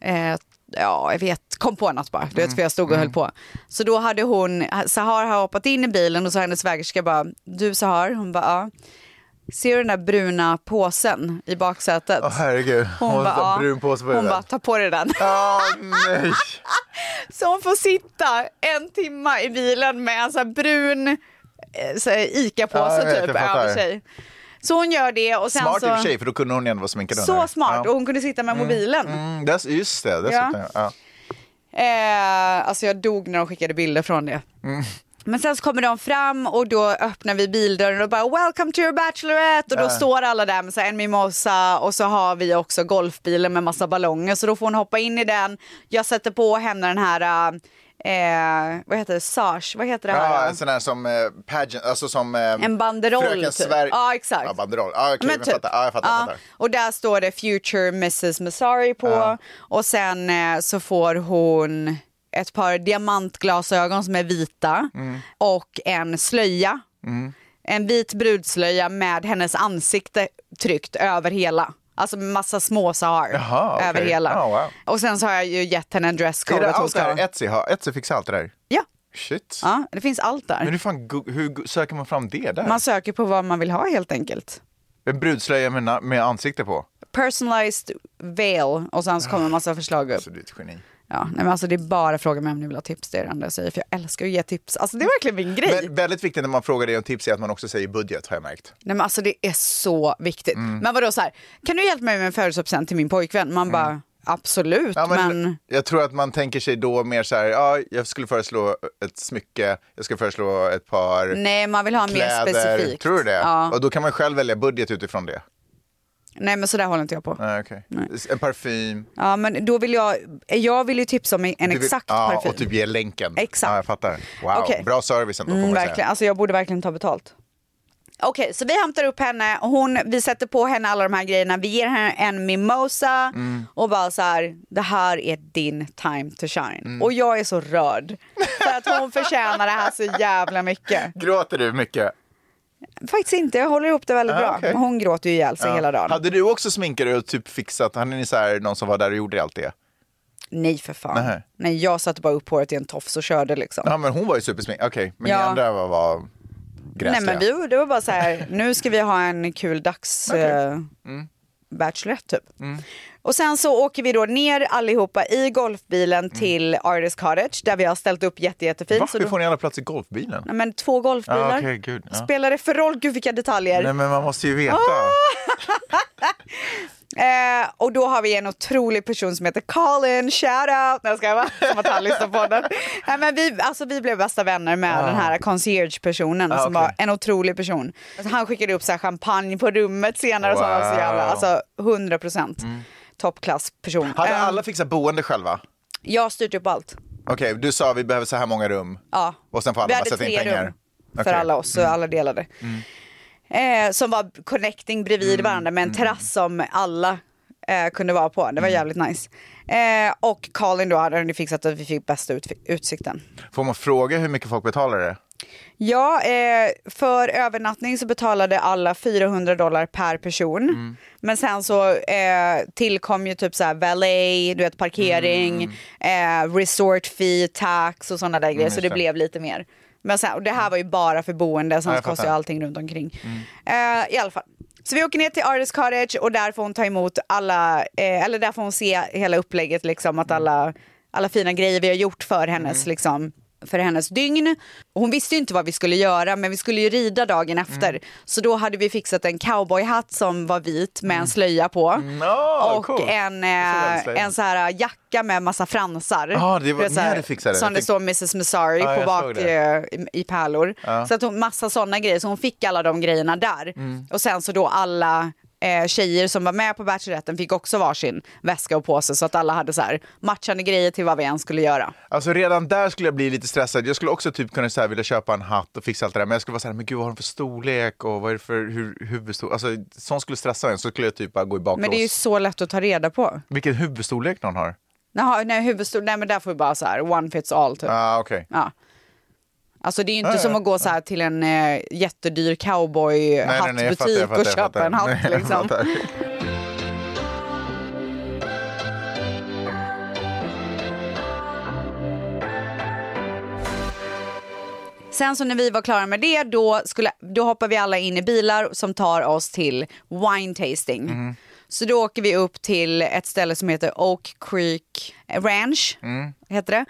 [SPEAKER 4] eh, ja jag vet, kom på något bara.
[SPEAKER 5] Mm.
[SPEAKER 4] Du vet för jag stod och höll på. Så då hade hon, Sahar har hoppat in i bilen och så har hennes svägerska bara, du Sahar, hon bara, ja. Ser du den där bruna påsen i baksätet?
[SPEAKER 5] Åh herregud, hon, hon
[SPEAKER 4] bara,
[SPEAKER 5] har
[SPEAKER 4] ja.
[SPEAKER 5] en brun påse på
[SPEAKER 4] Hon
[SPEAKER 5] huvudet.
[SPEAKER 4] bara, ta på dig den.
[SPEAKER 5] Ah, nej.
[SPEAKER 4] så hon får sitta en timma i bilen med en sån här brun eh, så här
[SPEAKER 5] Ja,
[SPEAKER 4] ICA-påse
[SPEAKER 5] jag vet,
[SPEAKER 4] typ
[SPEAKER 5] jag fattar.
[SPEAKER 4] över sig. Så hon gör det och sen
[SPEAKER 5] smart
[SPEAKER 4] så...
[SPEAKER 5] i och för sig, för då kunde hon ju ändå vara sminkad
[SPEAKER 4] Så
[SPEAKER 5] under.
[SPEAKER 4] smart
[SPEAKER 5] Ja.
[SPEAKER 4] och hon kunde sitta med
[SPEAKER 5] Mm,
[SPEAKER 4] mobilen.
[SPEAKER 5] Mm, dess, just det, dessutom. Ja. Ja.
[SPEAKER 4] Eh, alltså jag dog när de skickade bilder från det.
[SPEAKER 5] Mm.
[SPEAKER 4] Men sen så kommer de fram och då öppnar vi bildörren och bara “Welcome to your bachelorette” och då
[SPEAKER 13] Ja.
[SPEAKER 4] står alla där med så här en mimosa och så har vi också golfbilen med massa ballonger så då får hon hoppa in i den. Jag sätter på henne den här, eh, vad heter det, sage, vad heter det här?
[SPEAKER 5] Ja, en sån här som eh, pageant, alltså som... eh,
[SPEAKER 4] En banderoll,
[SPEAKER 5] Fröken
[SPEAKER 4] typ.
[SPEAKER 5] Sverige.
[SPEAKER 4] Ja, exakt. typ.
[SPEAKER 5] Ja, banderoll. Ja, okej, men jag fattar. Ja, jag fattar,
[SPEAKER 4] Ja,
[SPEAKER 5] jag fattar.
[SPEAKER 4] Och där står det Future Mrs. Masari på och sen eh, så får hon ett par diamantglasögon som är vita
[SPEAKER 5] Mm.
[SPEAKER 4] och en slöja. En vit brudslöja med hennes ansikte tryckt över hela. Alltså massa små sahar
[SPEAKER 5] Jaha, okej.
[SPEAKER 4] över hela.
[SPEAKER 5] Ja, wow.
[SPEAKER 4] Och sen så har jag ju gett henne en
[SPEAKER 5] Är
[SPEAKER 4] dresscode.
[SPEAKER 5] det
[SPEAKER 4] att hon
[SPEAKER 5] allt det
[SPEAKER 4] ska ha.
[SPEAKER 5] här Etsy har? Etsy fixar allt det där?
[SPEAKER 4] Ja.
[SPEAKER 5] Shit.
[SPEAKER 4] Ja, det finns allt där.
[SPEAKER 5] Men hur fan go- hur go- söker man fram det där?
[SPEAKER 4] Man söker på vad man vill ha helt enkelt.
[SPEAKER 5] En brudslöja med, na- med ansikte på?
[SPEAKER 4] personalized veil och sen så kommer en massa förslag upp.
[SPEAKER 5] Alltså, du är ett geni.
[SPEAKER 4] Ja, nej men alltså det är bara att fråga mig om ni vill ha tips, det är det enda jag säger, för jag älskar att ge tips. Alltså det är verkligen min grej.
[SPEAKER 5] Men väldigt viktigt när man frågar dig om tips är att man också säger budget har jag märkt.
[SPEAKER 4] Nej men alltså det är så viktigt.
[SPEAKER 5] Mm.
[SPEAKER 4] Men vadå så här, kan du hjälpa mig med en födelsedagspresent till min pojkvän? Man
[SPEAKER 5] Mm.
[SPEAKER 4] bara, absolut, men...
[SPEAKER 5] Jag tror att man tänker sig då mer så här, ja, jag skulle föreslå ett smycke, jag skulle föreslå ett par
[SPEAKER 4] Nej, man vill ha mer
[SPEAKER 5] kläder.
[SPEAKER 4] specifikt.
[SPEAKER 5] Tror du det?
[SPEAKER 4] Ja.
[SPEAKER 5] Och då kan man själv välja budget utifrån det.
[SPEAKER 4] Nej men sådär håller inte jag på.
[SPEAKER 5] Nej, okej. En parfym.
[SPEAKER 4] Ja men då vill jag, jag vill ju tipsa om en
[SPEAKER 5] Du vill-
[SPEAKER 4] exakt
[SPEAKER 5] ja,
[SPEAKER 4] parfym.
[SPEAKER 5] Och typ ge länken.
[SPEAKER 4] Exakt.
[SPEAKER 5] Ja, jag fattar. Wow,
[SPEAKER 4] Okej.
[SPEAKER 5] bra service ändå får
[SPEAKER 4] Mm,
[SPEAKER 5] man
[SPEAKER 4] verkligen.
[SPEAKER 5] säga.
[SPEAKER 4] Alltså jag borde verkligen ta betalt. Okej, så vi hämtar upp henne och hon, vi sätter på henne alla de här grejerna. Vi ger henne en mimosa
[SPEAKER 13] Mm.
[SPEAKER 4] och bara så här, det här är din time to shine.
[SPEAKER 5] Mm.
[SPEAKER 4] Och jag är så rörd för att hon förtjänar det här så jävla mycket.
[SPEAKER 5] Gråter du mycket?
[SPEAKER 4] Faktiskt inte, jag håller ihop det väldigt
[SPEAKER 5] Ah,
[SPEAKER 4] bra.
[SPEAKER 5] okej.
[SPEAKER 4] Hon gråter ju ihjäl sig
[SPEAKER 5] Ja.
[SPEAKER 4] hela dagen.
[SPEAKER 5] Hade du också sminkat dig och typ fixat? Hade ni så här, någon som var där och gjorde allt det?
[SPEAKER 4] Nej för fan.
[SPEAKER 5] Nähä.
[SPEAKER 4] Nej, jag satte bara upp håret i en tofs och körde liksom.
[SPEAKER 5] Ja, men hon var ju supersminkad. Okej, men ni
[SPEAKER 4] Ja.
[SPEAKER 5] andra var, var
[SPEAKER 4] Nej
[SPEAKER 5] gräsliga.
[SPEAKER 4] men vi, det var bara så här, nu ska vi ha en kul dags eh,
[SPEAKER 5] Mm.
[SPEAKER 4] Bachelorette typ. Och sen så åker vi då ner allihopa i golfbilen till Artist Cottage där vi har ställt upp jätte, jättefint.
[SPEAKER 5] Mm. Va?
[SPEAKER 4] Så
[SPEAKER 5] Hur
[SPEAKER 4] då,
[SPEAKER 5] får ni alla plats i golfbilen?
[SPEAKER 4] nej, men två golfbilar.
[SPEAKER 5] Ja, okej, gud, ja.
[SPEAKER 4] Spelar det för roll? Gud vilka detaljer.
[SPEAKER 5] Nej, men man måste ju veta.
[SPEAKER 4] Ah! Eh, och då har vi en otrolig person som heter Colin, shoutout! Nej jag skojar bara, som att han lyssnar på den. Nej, men vi, alltså, vi blev bästa vänner med
[SPEAKER 13] Ah.
[SPEAKER 4] den här concierge-personen
[SPEAKER 13] Ah,
[SPEAKER 4] som
[SPEAKER 13] okej.
[SPEAKER 4] var en otrolig person. Alltså, han skickade upp så här champagne på rummet senare och så var han så jävla,
[SPEAKER 5] Wow.
[SPEAKER 4] alltså 100 procent toppklassperson.
[SPEAKER 5] Hade
[SPEAKER 4] Eh,
[SPEAKER 5] alla fixat boende själva?
[SPEAKER 4] Jag har styrt upp allt.
[SPEAKER 5] Okej, du sa vi behöver så här många rum.
[SPEAKER 4] Ja.
[SPEAKER 5] Och sen får alla
[SPEAKER 4] vi
[SPEAKER 5] bara
[SPEAKER 4] hade
[SPEAKER 5] sätta in
[SPEAKER 4] tre
[SPEAKER 5] pengar.
[SPEAKER 4] rum för
[SPEAKER 5] Okej. Mm.
[SPEAKER 4] alla oss, så alla delade. Eh, som var connecting bredvid
[SPEAKER 5] Mm.
[SPEAKER 4] varandra med en terrass som alla eh, kunde vara på.
[SPEAKER 5] Mm.
[SPEAKER 4] Det var jävligt nice. Eh, och Colin då hade ju fixat att vi fick bästa ut, utsikten.
[SPEAKER 5] Får man fråga hur mycket folk betalar det?
[SPEAKER 4] Ja, eh, för övernattning så betalade alla 400 dollar per person.
[SPEAKER 13] Mm.
[SPEAKER 4] Men sen så eh, tillkom ju typ så här valet, du vet parkering, eh, resort fee, tax och sådana där grejer.
[SPEAKER 13] Mm,
[SPEAKER 4] så
[SPEAKER 13] just
[SPEAKER 4] det
[SPEAKER 13] det. Mm.
[SPEAKER 4] blev lite mer. Men sen, och det här var ju bara för boende, sen
[SPEAKER 13] Ja,
[SPEAKER 4] så
[SPEAKER 13] jag
[SPEAKER 4] kostar ju
[SPEAKER 13] fattar.
[SPEAKER 4] allting runt omkring. Eh, I alla fall. Så vi åker ner till Artist Cottage och där får hon ta emot alla, eh, eller där får hon se hela upplägget liksom att alla, alla fina grejer vi har gjort för hennes liksom för hennes dygn. Och Hon visste ju inte vad vi skulle göra men vi skulle ju rida dagen efter. Så då hade vi fixat en cowboyhatt som var vit med en slöja på.
[SPEAKER 5] ah,
[SPEAKER 4] och
[SPEAKER 5] coolt.
[SPEAKER 4] en,
[SPEAKER 5] Jag såg den slöjan.
[SPEAKER 4] eh, en så här jacka med massa fransar.
[SPEAKER 5] Ah, det var-
[SPEAKER 4] Du vet, så
[SPEAKER 5] ni
[SPEAKER 4] här,
[SPEAKER 5] hade fixat det.
[SPEAKER 4] Som
[SPEAKER 5] Jag
[SPEAKER 4] det
[SPEAKER 5] tänkte-
[SPEAKER 4] står Mrs Missouri
[SPEAKER 5] Ja,
[SPEAKER 4] på
[SPEAKER 5] jag
[SPEAKER 4] bak
[SPEAKER 5] såg det.
[SPEAKER 4] eh, i, i pärlor.
[SPEAKER 5] Ja.
[SPEAKER 4] Så att hon, massa sådana grejer. Så hon fick alla de grejerna där.
[SPEAKER 5] Mm.
[SPEAKER 4] Och sen så då alla eh, tjejer som var med på Bacheloretten fick också varsin väska och påse så att alla hade så här matchande grejer till vad vi än skulle göra.
[SPEAKER 5] Alltså redan där skulle jag bli lite stressad. Jag skulle också typ kunna så här, vilja köpa en hatt och fixa allt det där. Men jag skulle vara så här, men gud vad har den för storlek och vad är det för hur, huvudstorlek? Alltså sånt skulle stressa en så skulle jag typ bara gå i baklås.
[SPEAKER 4] Men det är ju så lätt att ta reda på.
[SPEAKER 5] Vilken huvudstorlek någon har.
[SPEAKER 4] Jaha, nej, huvudstor, nej men där får vi bara så här one fits all typ.
[SPEAKER 5] Ah, okej.
[SPEAKER 4] Ja. Alltså det är ju inte
[SPEAKER 5] Ja,
[SPEAKER 4] som
[SPEAKER 5] ja,
[SPEAKER 4] att gå så här till en eh, jättedyr cowboyhattbutik och köpa en hatt
[SPEAKER 5] Nej, jag
[SPEAKER 4] liksom.
[SPEAKER 5] fattar.
[SPEAKER 4] Sen så när vi var klara med det då, skulle, då hoppar vi alla in i bilar som tar oss till wine tasting. Så då åker vi upp till ett ställe som heter Oak Creek Ranch. Heter det.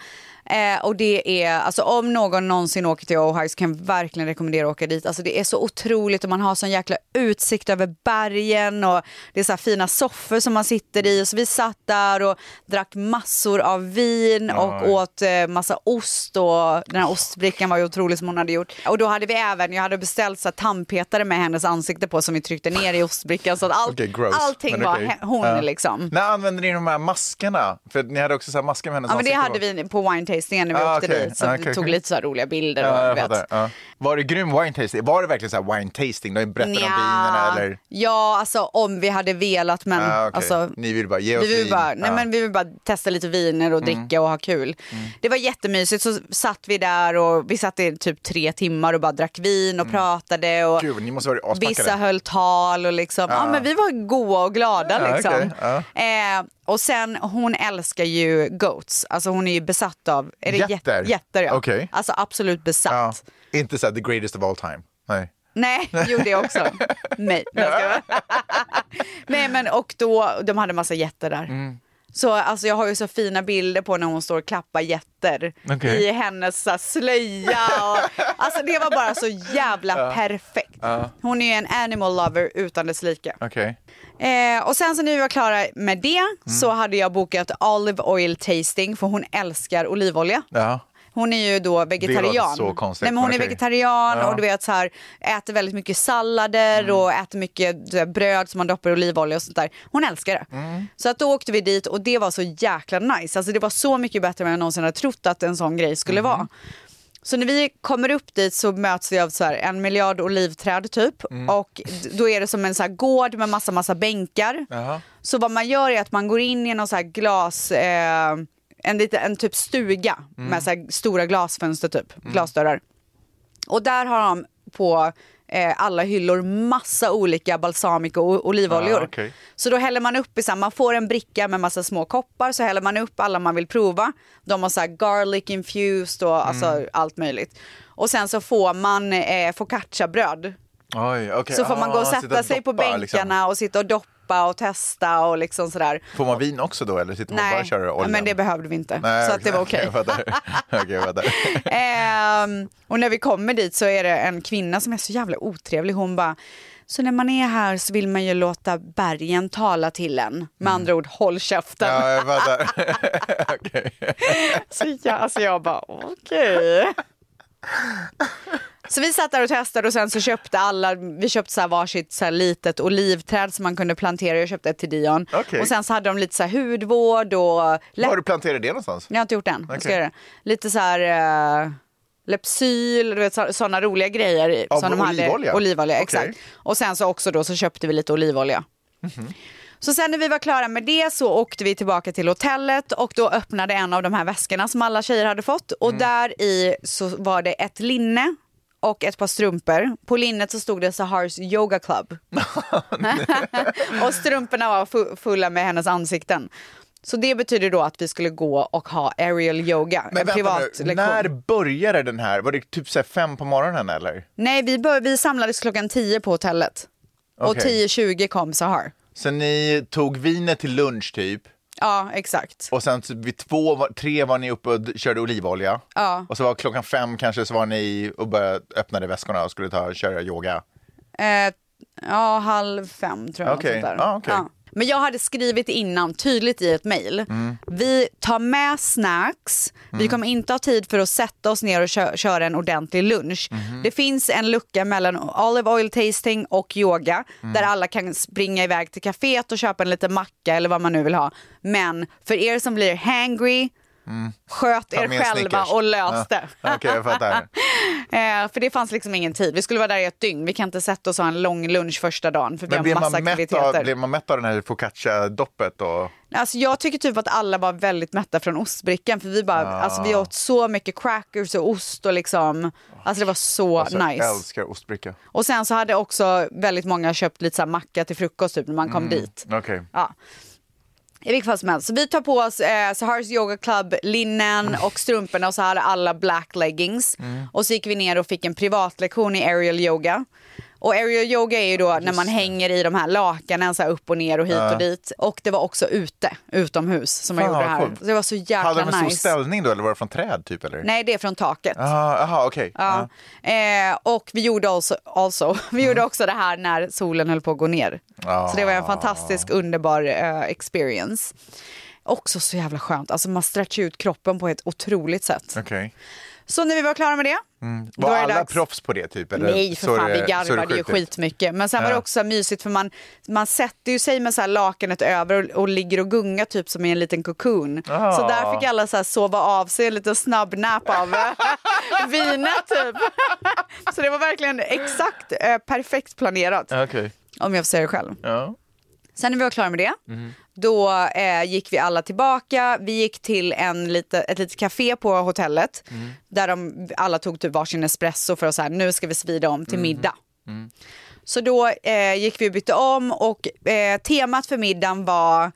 [SPEAKER 4] Eh, och det är, alltså om någon någonsin åker till Ohio så kan jag verkligen rekommendera att åka dit. Alltså det är så otroligt och man har sån jäkla utsikt över bergen och det är så här fina soffor som man sitter i. Och så vi satt där och drack massor av vin och
[SPEAKER 13] Oj.
[SPEAKER 4] åt åt eh, massa ost och den här ostbrickan var ju otrolig som hon hade gjort. Och då hade vi även, jag hade beställt så här, tandpetare med hennes ansikte på som vi tryckte ner i ostbrickan så att allt,
[SPEAKER 5] Okej, gross.
[SPEAKER 4] allting
[SPEAKER 5] Men
[SPEAKER 4] var
[SPEAKER 5] okej.
[SPEAKER 4] he- hon
[SPEAKER 5] Ja.
[SPEAKER 4] liksom.
[SPEAKER 5] När använde ni de här maskerna? För ni hade också så här masker med hennes
[SPEAKER 4] Ja men det
[SPEAKER 5] ansikte på.
[SPEAKER 4] hade vi på wine tastingen när vi
[SPEAKER 5] alltså, Ah,
[SPEAKER 4] åkte
[SPEAKER 5] okej.
[SPEAKER 4] dit så
[SPEAKER 5] Ah,
[SPEAKER 4] vi
[SPEAKER 5] okej,
[SPEAKER 4] tog
[SPEAKER 5] okej.
[SPEAKER 4] lite så här roliga bilder
[SPEAKER 5] Ja,
[SPEAKER 4] och
[SPEAKER 5] jag
[SPEAKER 4] du vet.
[SPEAKER 5] fattar. Ja. Var det grym wine tasting? Var det verkligen så här wine tasting? De berättade om
[SPEAKER 4] Nja.
[SPEAKER 5] vinerna eller?
[SPEAKER 4] Ja alltså om vi hade velat men
[SPEAKER 5] Ah, okej.
[SPEAKER 4] alltså
[SPEAKER 5] Ni vill bara ge oss
[SPEAKER 4] vi vill,
[SPEAKER 5] vin. Ah. Mm.
[SPEAKER 4] bara, nej,
[SPEAKER 5] Ja.
[SPEAKER 4] men vi vill bara testa lite viner och dricka och ha kul.
[SPEAKER 5] Mm.
[SPEAKER 4] Det var jättemysigt, så satt vi där och vi satt i typ tre timmar och bara drack vin och pratade. Och
[SPEAKER 5] Mm. Gud, ni måste ha varit aspackade.
[SPEAKER 4] Vissa höll tal och liksom, ja.
[SPEAKER 5] Ja.
[SPEAKER 4] men vi var goa och glada
[SPEAKER 5] Ja,
[SPEAKER 4] liksom.
[SPEAKER 5] Ah, okej, Ah. ja.
[SPEAKER 4] Eh, och sen, hon älskar ju goats, alltså hon är ju besatt av... Är det jät-
[SPEAKER 5] Jätter?
[SPEAKER 4] Jätter ja.
[SPEAKER 5] Okej. Ah.
[SPEAKER 4] Alltså absolut besatt.
[SPEAKER 5] Inte så här the greatest of all time. Nej.
[SPEAKER 4] Nej, jo det också. Nej, nej, jag skojar. nej men och då, de hade massa jätter där.
[SPEAKER 13] Mm.
[SPEAKER 4] Så alltså jag har ju så fina bilder på när hon står och klappar jätter
[SPEAKER 13] Okej.
[SPEAKER 4] i hennes så här, slöja och, alltså det var bara så jävla
[SPEAKER 13] Ja.
[SPEAKER 4] perfekt.
[SPEAKER 5] Ja.
[SPEAKER 4] Hon är ju en animal lover utan dess like.
[SPEAKER 5] Okej.
[SPEAKER 4] Eh, och sen så när vi var klara med det
[SPEAKER 13] Mm.
[SPEAKER 4] så hade jag bokat olive oil tasting för hon älskar olivolja.
[SPEAKER 5] Ja.
[SPEAKER 4] Hon är ju då vegetarian.
[SPEAKER 5] Det låter så konstigt,
[SPEAKER 4] Nej, men hon
[SPEAKER 5] men
[SPEAKER 4] är
[SPEAKER 5] okej.
[SPEAKER 4] vegetarian
[SPEAKER 5] Ja. Mm.
[SPEAKER 4] och du vet så här, äter väldigt mycket sallader och äter mycket du vet, bröd som man doppar i olivolja och sånt där. Hon älskar det.
[SPEAKER 5] Mm.
[SPEAKER 4] Så att då åkte vi dit och det var så jäkla nice. Alltså det var så mycket bättre än jag någonsin hade trott att en sån grej skulle
[SPEAKER 5] Mm.
[SPEAKER 4] vara. Så när vi kommer upp dit så möts vi av så här en miljard olivträd typ och d- då är det som en så här gård med massa massa bänkar.
[SPEAKER 5] Jaha.
[SPEAKER 4] Så vad man gör är att man går in i någon så här glas, eh, en, lite, en typ stuga
[SPEAKER 13] Mm.
[SPEAKER 4] med så här stora glasfönster typ, glasdörrar. Och där har de på eh, alla hyllor massa olika balsamico och olivoljor.
[SPEAKER 5] Ah, okej.
[SPEAKER 4] Så då häller man upp i samma, man får en bricka med massa små koppar så häller man upp alla man vill prova. De har så här garlic infused och alltså
[SPEAKER 5] Mm.
[SPEAKER 4] allt möjligt. Och sen så får man eh, focacciabröd.
[SPEAKER 5] Oj, okej.
[SPEAKER 4] så får man gå och
[SPEAKER 5] Ah,
[SPEAKER 4] sätta
[SPEAKER 5] sitta och
[SPEAKER 4] sig på
[SPEAKER 5] doppa,
[SPEAKER 4] bänkarna
[SPEAKER 5] liksom.
[SPEAKER 4] och sitta och doppa och testa och liksom sådär.
[SPEAKER 5] Får man vin också då eller sitter man bara
[SPEAKER 4] Nej,
[SPEAKER 5] och kör
[SPEAKER 4] ja,
[SPEAKER 5] oljan?
[SPEAKER 4] men det behövde vi inte.
[SPEAKER 5] Nej,
[SPEAKER 4] så att det var okej.
[SPEAKER 5] jag fattar. Okej, jag fattar.
[SPEAKER 4] Ehm, och när vi kommer dit så är det en kvinna som är så jävla otrevlig. Hon bara, så när man är här så vill man ju låta bergen tala till en. Med andra ord, håll käften.
[SPEAKER 5] Mm. Ja, jag fattar.
[SPEAKER 4] så jag, alltså jag bara, okej. Så vi satt där och testade och sen så köpte alla, vi köpte så här varsitt så här litet olivträd som man kunde plantera. Jag köpte ett till Dion.
[SPEAKER 5] Okej.
[SPEAKER 4] Och sen så hade de lite så här hudvård och
[SPEAKER 5] Var har du planterat det någonstans?
[SPEAKER 4] jag har inte gjort det än. Jag ska
[SPEAKER 5] Okej.
[SPEAKER 4] göra det. Lite så här eh, Lepsyl, du vet sådana roliga grejer. i-
[SPEAKER 5] Av
[SPEAKER 4] som de hade.
[SPEAKER 5] olivolja?
[SPEAKER 4] Olivolja,
[SPEAKER 5] Okej.
[SPEAKER 4] exakt. Och sen så också då så köpte vi lite olivolja.
[SPEAKER 5] Mhm.
[SPEAKER 4] Så sen när vi var klara med det så åkte vi tillbaka till hotellet och då öppnade en av de här väskorna som alla tjejer hade fått och
[SPEAKER 5] Mm.
[SPEAKER 4] där i så var det ett linne och ett par strumpor. På linnet så stod det Sahars Yoga Club. och strumporna var fu- fulla med hennes ansikten. Så det betyder då att vi skulle gå och ha aerial yoga,
[SPEAKER 5] Men
[SPEAKER 4] en
[SPEAKER 5] vänta
[SPEAKER 4] privat
[SPEAKER 5] nu,
[SPEAKER 4] lektion.
[SPEAKER 5] när började den här? Var det typ så här fem på morgonen eller?
[SPEAKER 4] Nej, vi, bör- vi samlades klockan 10 på hotellet. Och
[SPEAKER 5] Okej.
[SPEAKER 4] 10.20 kom Sahar.
[SPEAKER 5] Så ni tog vinet till lunch typ?
[SPEAKER 4] Ja, exakt.
[SPEAKER 5] Och sen typ vid två, var- tre var ni uppe och d- körde olivolja.
[SPEAKER 4] Ja.
[SPEAKER 5] Och så var klockan fem kanske så var ni och började öppnade väskorna och skulle ta, köra yoga.
[SPEAKER 4] Eh, ja, halv fem tror jag.
[SPEAKER 5] Okej.
[SPEAKER 4] något sånt där.
[SPEAKER 5] Ja, okej.
[SPEAKER 4] Men jag hade skrivit innan tydligt i ett mejl.
[SPEAKER 5] Mm.
[SPEAKER 4] Vi tar med snacks. Vi kommer inte ha tid för att sätta oss ner och kö- köra en ordentlig lunch.
[SPEAKER 5] Mm-hmm.
[SPEAKER 4] Det finns en lucka mellan olive oil tasting och yoga
[SPEAKER 5] Mm.
[SPEAKER 4] där alla kan springa iväg till kaféet och köpa en liten macka eller vad man nu vill ha. Men för er som blir hangry, sköt
[SPEAKER 5] Mm. Ta
[SPEAKER 4] er
[SPEAKER 5] med
[SPEAKER 4] själva
[SPEAKER 5] Snickers.
[SPEAKER 4] och lös
[SPEAKER 5] Ja.
[SPEAKER 4] det.
[SPEAKER 5] Okej, jag fattar.
[SPEAKER 4] Eh, för det fanns liksom ingen tid. Vi skulle vara där i ett dygn. Vi kan inte sätta oss och ha en lång lunch första dagen för
[SPEAKER 5] Men
[SPEAKER 4] vi
[SPEAKER 5] blev
[SPEAKER 4] har
[SPEAKER 5] man,
[SPEAKER 4] massa
[SPEAKER 5] mätt av,
[SPEAKER 4] aktiviteter.
[SPEAKER 5] blev man mätt av den här focaccia-doppet? Och...
[SPEAKER 4] Alltså, jag tycker typ att alla var väldigt mätta från ostbrickan för vi, bara, alltså, vi åt så mycket crackers och ost och liksom, alltså det var så
[SPEAKER 5] Alltså,
[SPEAKER 4] nice.
[SPEAKER 5] Jag älskar ostbricka.
[SPEAKER 4] Och sen så hade också väldigt många köpt lite så här macka till frukost typ när man kom dit.
[SPEAKER 5] Okej.
[SPEAKER 4] Ja. I vilket fall som helst. Så vi tar på oss eh, Sahars Yoga Club linnen
[SPEAKER 5] Mm.
[SPEAKER 4] och strumporna och så hade alla black leggings. Och så gick vi ner och fick en privatlektion i aerial yoga. Och aerial yoga är ju då när man hänger i de här lakanen så här upp och ner och hit
[SPEAKER 5] Ja.
[SPEAKER 4] och dit. Och det var också ute, utomhus, som man
[SPEAKER 5] Fan,
[SPEAKER 4] gjorde det
[SPEAKER 5] vad
[SPEAKER 4] här.
[SPEAKER 5] coolt.
[SPEAKER 4] Så det var så
[SPEAKER 5] Hade
[SPEAKER 4] jäkla
[SPEAKER 5] de en stor
[SPEAKER 4] nice.
[SPEAKER 5] ställning då eller var det från träd typ? Eller?
[SPEAKER 4] Nej, det är från taket.
[SPEAKER 5] Ah, Jaha, okej.
[SPEAKER 4] Ja. Eh, och vi gjorde, also, also, vi gjorde också det här när solen höll på att gå ner.
[SPEAKER 5] Ah.
[SPEAKER 4] Så det var en fantastisk, underbar eh, experience. Också så jävla skönt. Alltså man stretchar ut kroppen på ett otroligt sätt.
[SPEAKER 5] Okej.
[SPEAKER 4] Så när vi var klara med det.
[SPEAKER 5] Mm.
[SPEAKER 4] Då
[SPEAKER 5] Var
[SPEAKER 4] är det
[SPEAKER 5] alla
[SPEAKER 4] dags.
[SPEAKER 5] proffs på det typ? Eller?
[SPEAKER 4] Nej, för
[SPEAKER 5] Så
[SPEAKER 4] fan,
[SPEAKER 5] är
[SPEAKER 4] vi
[SPEAKER 5] det- så är det
[SPEAKER 4] garvade ju
[SPEAKER 5] sjukt ut?
[SPEAKER 4] skitmycket. Men sen var
[SPEAKER 5] Ja.
[SPEAKER 4] det också så här mysigt för man, man sätter ju sig med så här lakanet över och, och ligger och gungar typ som i en liten cocoon.
[SPEAKER 5] Ah.
[SPEAKER 4] Så där fick alla så här sova av sig, en liten snabbnap av eh, vinet typ. så det var verkligen exakt eh, perfekt planerat,
[SPEAKER 5] Okej.
[SPEAKER 4] om jag får säga det själv.
[SPEAKER 5] Ja.
[SPEAKER 4] Sen när vi var klara med det, då eh, gick vi alla tillbaka. Vi gick till en lite, ett litet café på hotellet där de alla tog typ varsin espresso för att så här, nu ska vi svida om
[SPEAKER 5] Mm.
[SPEAKER 4] till middag. Så då eh, gick vi och bytte om och eh, temat för middagen var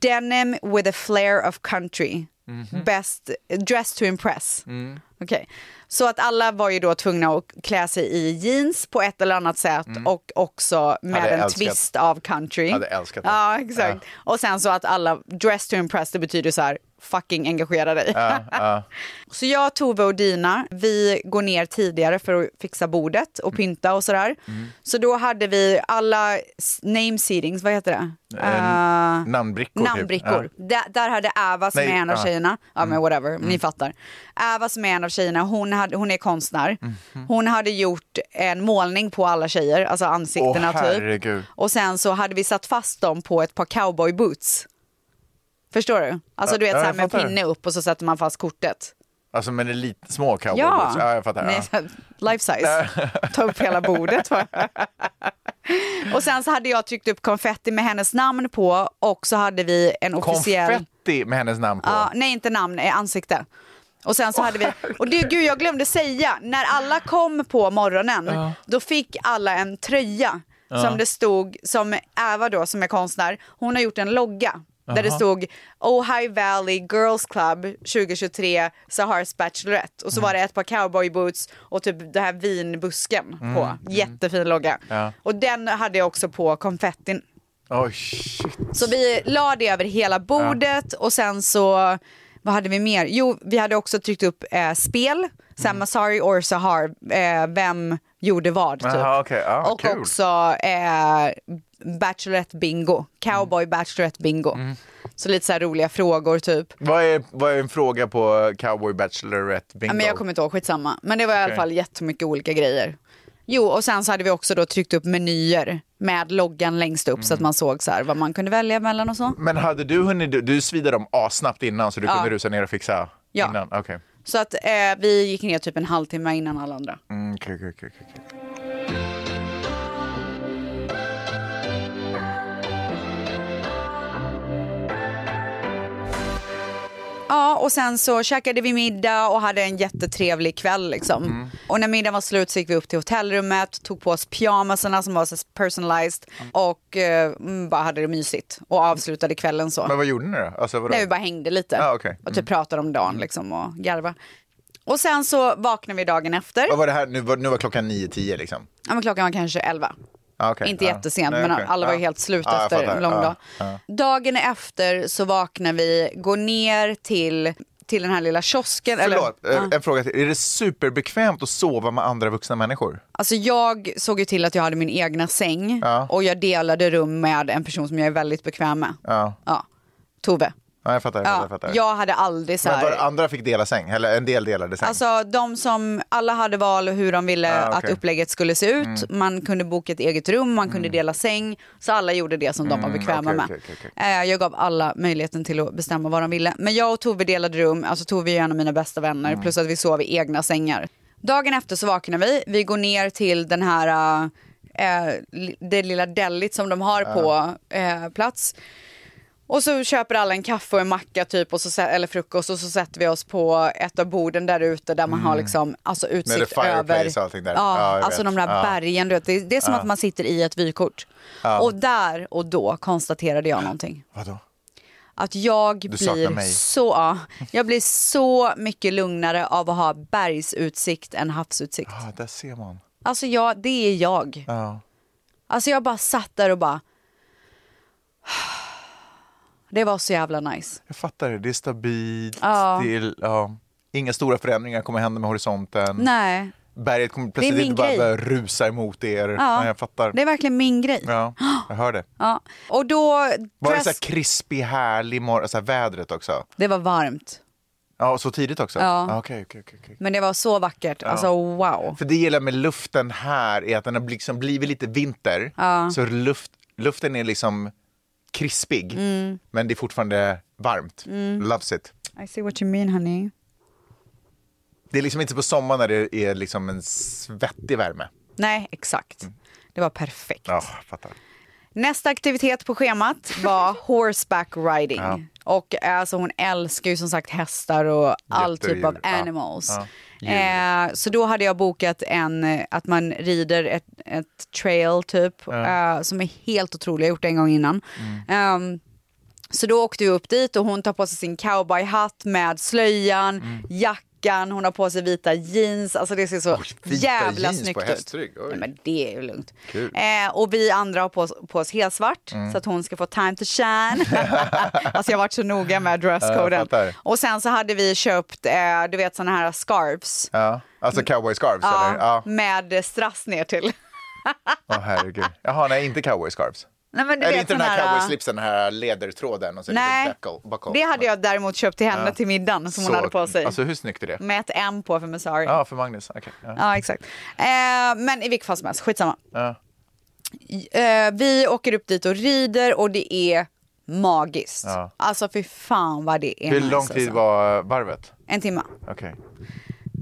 [SPEAKER 4] denim with a flair of country.
[SPEAKER 5] Mhm.
[SPEAKER 4] Best dress to impress.
[SPEAKER 5] Mm.
[SPEAKER 4] Okej. Så att alla var ju då tvungna att klä sig i jeans på ett eller annat sätt och också med
[SPEAKER 5] Mm. Hade
[SPEAKER 4] en
[SPEAKER 5] älskat.
[SPEAKER 4] twist av country.
[SPEAKER 5] Hade älskat det.
[SPEAKER 4] Ja, exakt. Och sen så att alla dress to impress, det betyder så här fucking engagera dig.
[SPEAKER 5] Ja, ja.
[SPEAKER 4] Så jag, Tove och Dina, vi går ner tidigare för att fixa bordet
[SPEAKER 5] Mm.
[SPEAKER 4] och pynta och sådär. Så då hade vi alla s- name seedings, vad heter det?
[SPEAKER 5] Eh,
[SPEAKER 4] Eh,
[SPEAKER 5] namnbrickor, typ.
[SPEAKER 4] Namnbrickor.
[SPEAKER 5] Ja.
[SPEAKER 4] Där, där hade Ava som
[SPEAKER 5] Nej,
[SPEAKER 4] är en av
[SPEAKER 5] ja. Mm.
[SPEAKER 4] tjejerna, ja men whatever, ni fattar. Ava som är en av tjejerna, hon, hade, hon är konstnär.
[SPEAKER 5] Mhm.
[SPEAKER 4] Hon hade gjort en målning på alla tjejer, alltså
[SPEAKER 5] Åh
[SPEAKER 4] ansiktena typ.
[SPEAKER 5] herregud.
[SPEAKER 4] Och sen så hade vi satt fast dem på ett par cowboy boots. Förstår du? Alltså
[SPEAKER 5] Ja,
[SPEAKER 4] du vet så
[SPEAKER 5] ja,
[SPEAKER 4] här
[SPEAKER 5] jag
[SPEAKER 4] med en
[SPEAKER 5] fattar.
[SPEAKER 4] pinne upp och så sätter man fast kortet.
[SPEAKER 5] Alltså men det är lite små cowboy boots. ja, jag fattar.
[SPEAKER 4] Nej,
[SPEAKER 5] Ja.
[SPEAKER 4] så här, life size. Ta upp hela bordet. Va? och sen så hade jag tryckt upp konfetti med hennes namn på och så hade vi en officiell...
[SPEAKER 5] Konfetti med hennes namn på.
[SPEAKER 4] Ja, nej, inte namn, eh, ansikte. Och sen så hade vi, och det, gud jag glömde säga, när alla kom på morgonen,
[SPEAKER 13] Ja.
[SPEAKER 4] då fick alla en tröja
[SPEAKER 13] Ja.
[SPEAKER 4] som det stod, som Eva då som är konstnär, hon har gjort en logga. Där det
[SPEAKER 13] Jaha.
[SPEAKER 4] stod Ohio Valley Girls Club 2023 Sahars Bachelorette. Och så var det ett par cowboyboots och typ det här vinbusken
[SPEAKER 5] Mm,
[SPEAKER 4] på.
[SPEAKER 5] mm.
[SPEAKER 4] Jättefin logga.
[SPEAKER 5] Ja.
[SPEAKER 4] Och den hade jag också på konfettin.
[SPEAKER 5] Oj, shit.
[SPEAKER 4] Så vi la det över hela bordet och sen så, vad hade vi mer? Jo, vi hade också tryckt upp eh, spel,
[SPEAKER 5] Mm.
[SPEAKER 4] sen Masari or Sahar, eh, vem gjorde vad typ.
[SPEAKER 5] Jaha, okej. Ja,
[SPEAKER 4] och
[SPEAKER 5] kul.
[SPEAKER 4] också eh, Bachelorette bingo, cowboy
[SPEAKER 5] Mm.
[SPEAKER 4] Bachelorette bingo. Så lite så här roliga frågor typ.
[SPEAKER 5] Vad är, vad är en fråga på Cowboy Bachelorette
[SPEAKER 4] Ja,
[SPEAKER 5] Bingo?
[SPEAKER 4] men jag kommer inte ihåg, skitsamma. Men det var i alla
[SPEAKER 5] Okej.
[SPEAKER 4] fall jättemycket olika grejer. Jo, och sen så hade vi också då tryckt upp menyer med loggan längst upp
[SPEAKER 5] Mm.
[SPEAKER 4] så att man såg så här vad man kunde välja mellan och så.
[SPEAKER 5] Men hade du hunnit, du, du svidade dem assnabbt innan så du
[SPEAKER 4] Ja.
[SPEAKER 5] kunde rusa ner och fixa
[SPEAKER 4] Ja.
[SPEAKER 5] innan? Okej.
[SPEAKER 4] Så att eh, vi gick ner typ en halvtimme innan alla andra.
[SPEAKER 5] Mm, okej, okej, okej, okej.
[SPEAKER 4] Ja, och sen så käkade vi middag och hade en jättetrevlig kväll liksom.
[SPEAKER 5] Mm.
[SPEAKER 4] Och när middagen var slut så gick vi upp till hotellrummet, tog på oss pyjamasarna som var så personalized och eh, mm, bara hade det mysigt och avslutade kvällen så.
[SPEAKER 5] Men vad gjorde ni då? Alltså, vadå?
[SPEAKER 4] Nej, vi bara hängde lite
[SPEAKER 5] Ah, okej.
[SPEAKER 4] och typ
[SPEAKER 5] Mm.
[SPEAKER 4] pratade om dagen liksom och garva. Och sen så vaknade vi dagen efter.
[SPEAKER 5] Vad var det här? Nu var, nu var klockan 9-10 liksom?
[SPEAKER 4] Ja, men klockan var kanske elva.
[SPEAKER 5] Ah, okej.
[SPEAKER 4] Inte
[SPEAKER 5] Ah.
[SPEAKER 4] jättesent,
[SPEAKER 5] Nej,
[SPEAKER 4] men
[SPEAKER 5] okej.
[SPEAKER 4] alla var ju
[SPEAKER 5] Ah.
[SPEAKER 4] helt slut
[SPEAKER 5] Ah, jag
[SPEAKER 4] efter
[SPEAKER 5] fattar.
[SPEAKER 4] en lång
[SPEAKER 5] Ah,
[SPEAKER 4] dag.
[SPEAKER 5] ah.
[SPEAKER 4] Dagen efter så vaknar vi, går ner till, till den här lilla kiosken.
[SPEAKER 5] Förlåt,
[SPEAKER 4] eller,
[SPEAKER 5] eh, en fråga till. Är det superbekvämt att sova med andra vuxna människor?
[SPEAKER 4] Alltså jag såg ju till att jag hade min egna säng
[SPEAKER 5] Ja.
[SPEAKER 4] och jag delade rum med en person som jag är väldigt bekväm med.
[SPEAKER 5] Ja,
[SPEAKER 4] Ja, Tove.
[SPEAKER 5] ja jag fattar. Jag fattar,
[SPEAKER 4] Ja,
[SPEAKER 5] jag fattar.
[SPEAKER 4] jag hade aldrig så
[SPEAKER 5] Men
[SPEAKER 4] här...
[SPEAKER 5] var andra fick dela säng? Eller en del delade säng?
[SPEAKER 4] Alltså de som, alla hade val hur de ville
[SPEAKER 5] Ah, okej.
[SPEAKER 4] att upplägget skulle se ut.
[SPEAKER 5] Mm.
[SPEAKER 4] Man kunde boka ett eget rum, man kunde dela säng. Så alla gjorde det som de var
[SPEAKER 5] Mm,
[SPEAKER 4] bekväma
[SPEAKER 5] okej,
[SPEAKER 4] med.
[SPEAKER 5] okej, okej,
[SPEAKER 4] Eh, Jag gav alla möjligheten till att bestämma vad de ville. Men jag och Tove delade rum, alltså Tove är ju en av mina bästa vänner,
[SPEAKER 13] Mm.
[SPEAKER 4] plus att vi sov i egna sängar. Dagen efter så vaknar vi, vi går ner till den här, eh, eh, li- det lilla delit som de har
[SPEAKER 13] Ja.
[SPEAKER 4] på eh, plats. Och så köper alla en kaffe och en macka typ, och så, sä- eller frukost och så sätter vi oss på ett av borden där ute där man
[SPEAKER 5] Mm.
[SPEAKER 4] har liksom, alltså utsikt
[SPEAKER 5] Med the fireplace
[SPEAKER 4] över.
[SPEAKER 5] och allting där.
[SPEAKER 4] Ja,
[SPEAKER 5] Ja, jag
[SPEAKER 4] alltså
[SPEAKER 5] vet.
[SPEAKER 4] de där
[SPEAKER 5] Ja.
[SPEAKER 4] bergen, du vet, det, det är som
[SPEAKER 5] Ja.
[SPEAKER 4] att man sitter i ett vykort.
[SPEAKER 5] Ja.
[SPEAKER 4] Och där och då konstaterade jag någonting.
[SPEAKER 5] Vadå?
[SPEAKER 4] Att jag
[SPEAKER 5] Du saknar
[SPEAKER 4] blir,
[SPEAKER 5] mig.
[SPEAKER 4] så, ja, jag blir så mycket lugnare av att ha bergsutsikt än havsutsikt.
[SPEAKER 5] Ja, Ah, där ser man.
[SPEAKER 4] Alltså jag, det är jag.
[SPEAKER 5] Ja.
[SPEAKER 4] Alltså jag bara satt där och bara... Det var så jävla nice.
[SPEAKER 5] Jag fattar det. Det är stabilt.
[SPEAKER 4] Ja.
[SPEAKER 5] Det är, ja. Inga stora förändringar kommer hända med horisonten.
[SPEAKER 4] Nej,
[SPEAKER 5] Berget kommer plötsligt
[SPEAKER 4] min
[SPEAKER 5] inte bara
[SPEAKER 4] grej.
[SPEAKER 5] börja rusa emot er. Nej, jag fattar.
[SPEAKER 4] det är verkligen min grej.
[SPEAKER 5] Ja, jag hör det.
[SPEAKER 4] Ja. Och då...
[SPEAKER 5] Var det så här krispig, härlig morgon, så här vädret också?
[SPEAKER 4] Det var varmt,
[SPEAKER 5] Ja, så tidigt också?
[SPEAKER 4] Ja.
[SPEAKER 5] Ah, okej, okej, okej, okej.
[SPEAKER 4] men det var så vackert.
[SPEAKER 5] Ja.
[SPEAKER 4] Alltså wow.
[SPEAKER 5] För det gillar med luften här är att den har liksom blivit lite vinter.
[SPEAKER 4] Ja.
[SPEAKER 5] Så luft, luften är liksom krispig,
[SPEAKER 4] Mm.
[SPEAKER 5] men det är fortfarande varmt.
[SPEAKER 4] Mm.
[SPEAKER 5] Loves it.
[SPEAKER 4] I see what you mean honey.
[SPEAKER 5] Det är liksom inte på sommaren när det är liksom en svettig värme.
[SPEAKER 4] Nej, exakt. Det var perfekt.
[SPEAKER 5] Ja, jag fattar.
[SPEAKER 4] Nästa aktivitet på schemat var horseback riding.
[SPEAKER 5] Ja.
[SPEAKER 4] Och alltså hon älskar ju som sagt hästar och all
[SPEAKER 13] Jättedjur.
[SPEAKER 4] typ av
[SPEAKER 13] Ja.
[SPEAKER 4] animals.
[SPEAKER 13] Ja.
[SPEAKER 4] Eh, så då hade jag bokat en, eh, att man rider ett, ett trail typ,
[SPEAKER 13] Ja. Mm.
[SPEAKER 4] eh, som är helt otrolig. Jag har gjort det en gång innan. Ehm, så då åkte vi upp dit och hon tar på sig sin cowboyhatt med slöjan,
[SPEAKER 13] Mm.
[SPEAKER 4] jackan, hon har på sig vita jeans. Alltså det ser så
[SPEAKER 13] vita
[SPEAKER 4] jävla
[SPEAKER 13] jeans på
[SPEAKER 4] snyggt ut.
[SPEAKER 13] hästrygg, oj.
[SPEAKER 4] Nej, men det är ju lugnt.
[SPEAKER 13] Kul.
[SPEAKER 4] Eh, och vi andra har på oss, på oss helt svart
[SPEAKER 13] Mm.
[SPEAKER 4] så att hon ska få time to shine. alltså jag har varit så noga med
[SPEAKER 5] Ja, jag
[SPEAKER 4] dresscoden.
[SPEAKER 5] fattar.
[SPEAKER 4] och sen så hade vi köpt, eh, du vet såna här scarves.
[SPEAKER 5] Ja. Alltså cowboy scarves
[SPEAKER 4] Ja,
[SPEAKER 5] eller? Ja.
[SPEAKER 4] Med strass ner till.
[SPEAKER 5] Åh herregud. Jaha, nej inte cowboy scarves.
[SPEAKER 4] Nej, men du
[SPEAKER 5] Eller
[SPEAKER 4] vet
[SPEAKER 5] inte den
[SPEAKER 4] sån här-
[SPEAKER 5] här
[SPEAKER 4] äh, eh,
[SPEAKER 5] cowboy-slipsen, den här lädertråden och så
[SPEAKER 4] Nej.
[SPEAKER 5] lite buckle. buckle.
[SPEAKER 4] Det hade jag däremot köpt till henne
[SPEAKER 5] Ja.
[SPEAKER 4] till middagen som hon
[SPEAKER 5] Så-
[SPEAKER 4] hade på sig.
[SPEAKER 5] Alltså hur snyggt är det?
[SPEAKER 4] Med ett M på för Messari.
[SPEAKER 5] Ja, för Magnus. Okej. Ja.
[SPEAKER 4] Ja, exakt. Eh, men i vilket fall som helst, skitsamma.
[SPEAKER 5] Ja.
[SPEAKER 4] Eh, vi åker upp dit och rider och det är magiskt.
[SPEAKER 5] Ja.
[SPEAKER 4] Alltså fy fan vad det är
[SPEAKER 5] Hur
[SPEAKER 4] nice,
[SPEAKER 5] lång tid
[SPEAKER 4] alltså.
[SPEAKER 5] var varvet?
[SPEAKER 4] En timme.
[SPEAKER 5] Okej.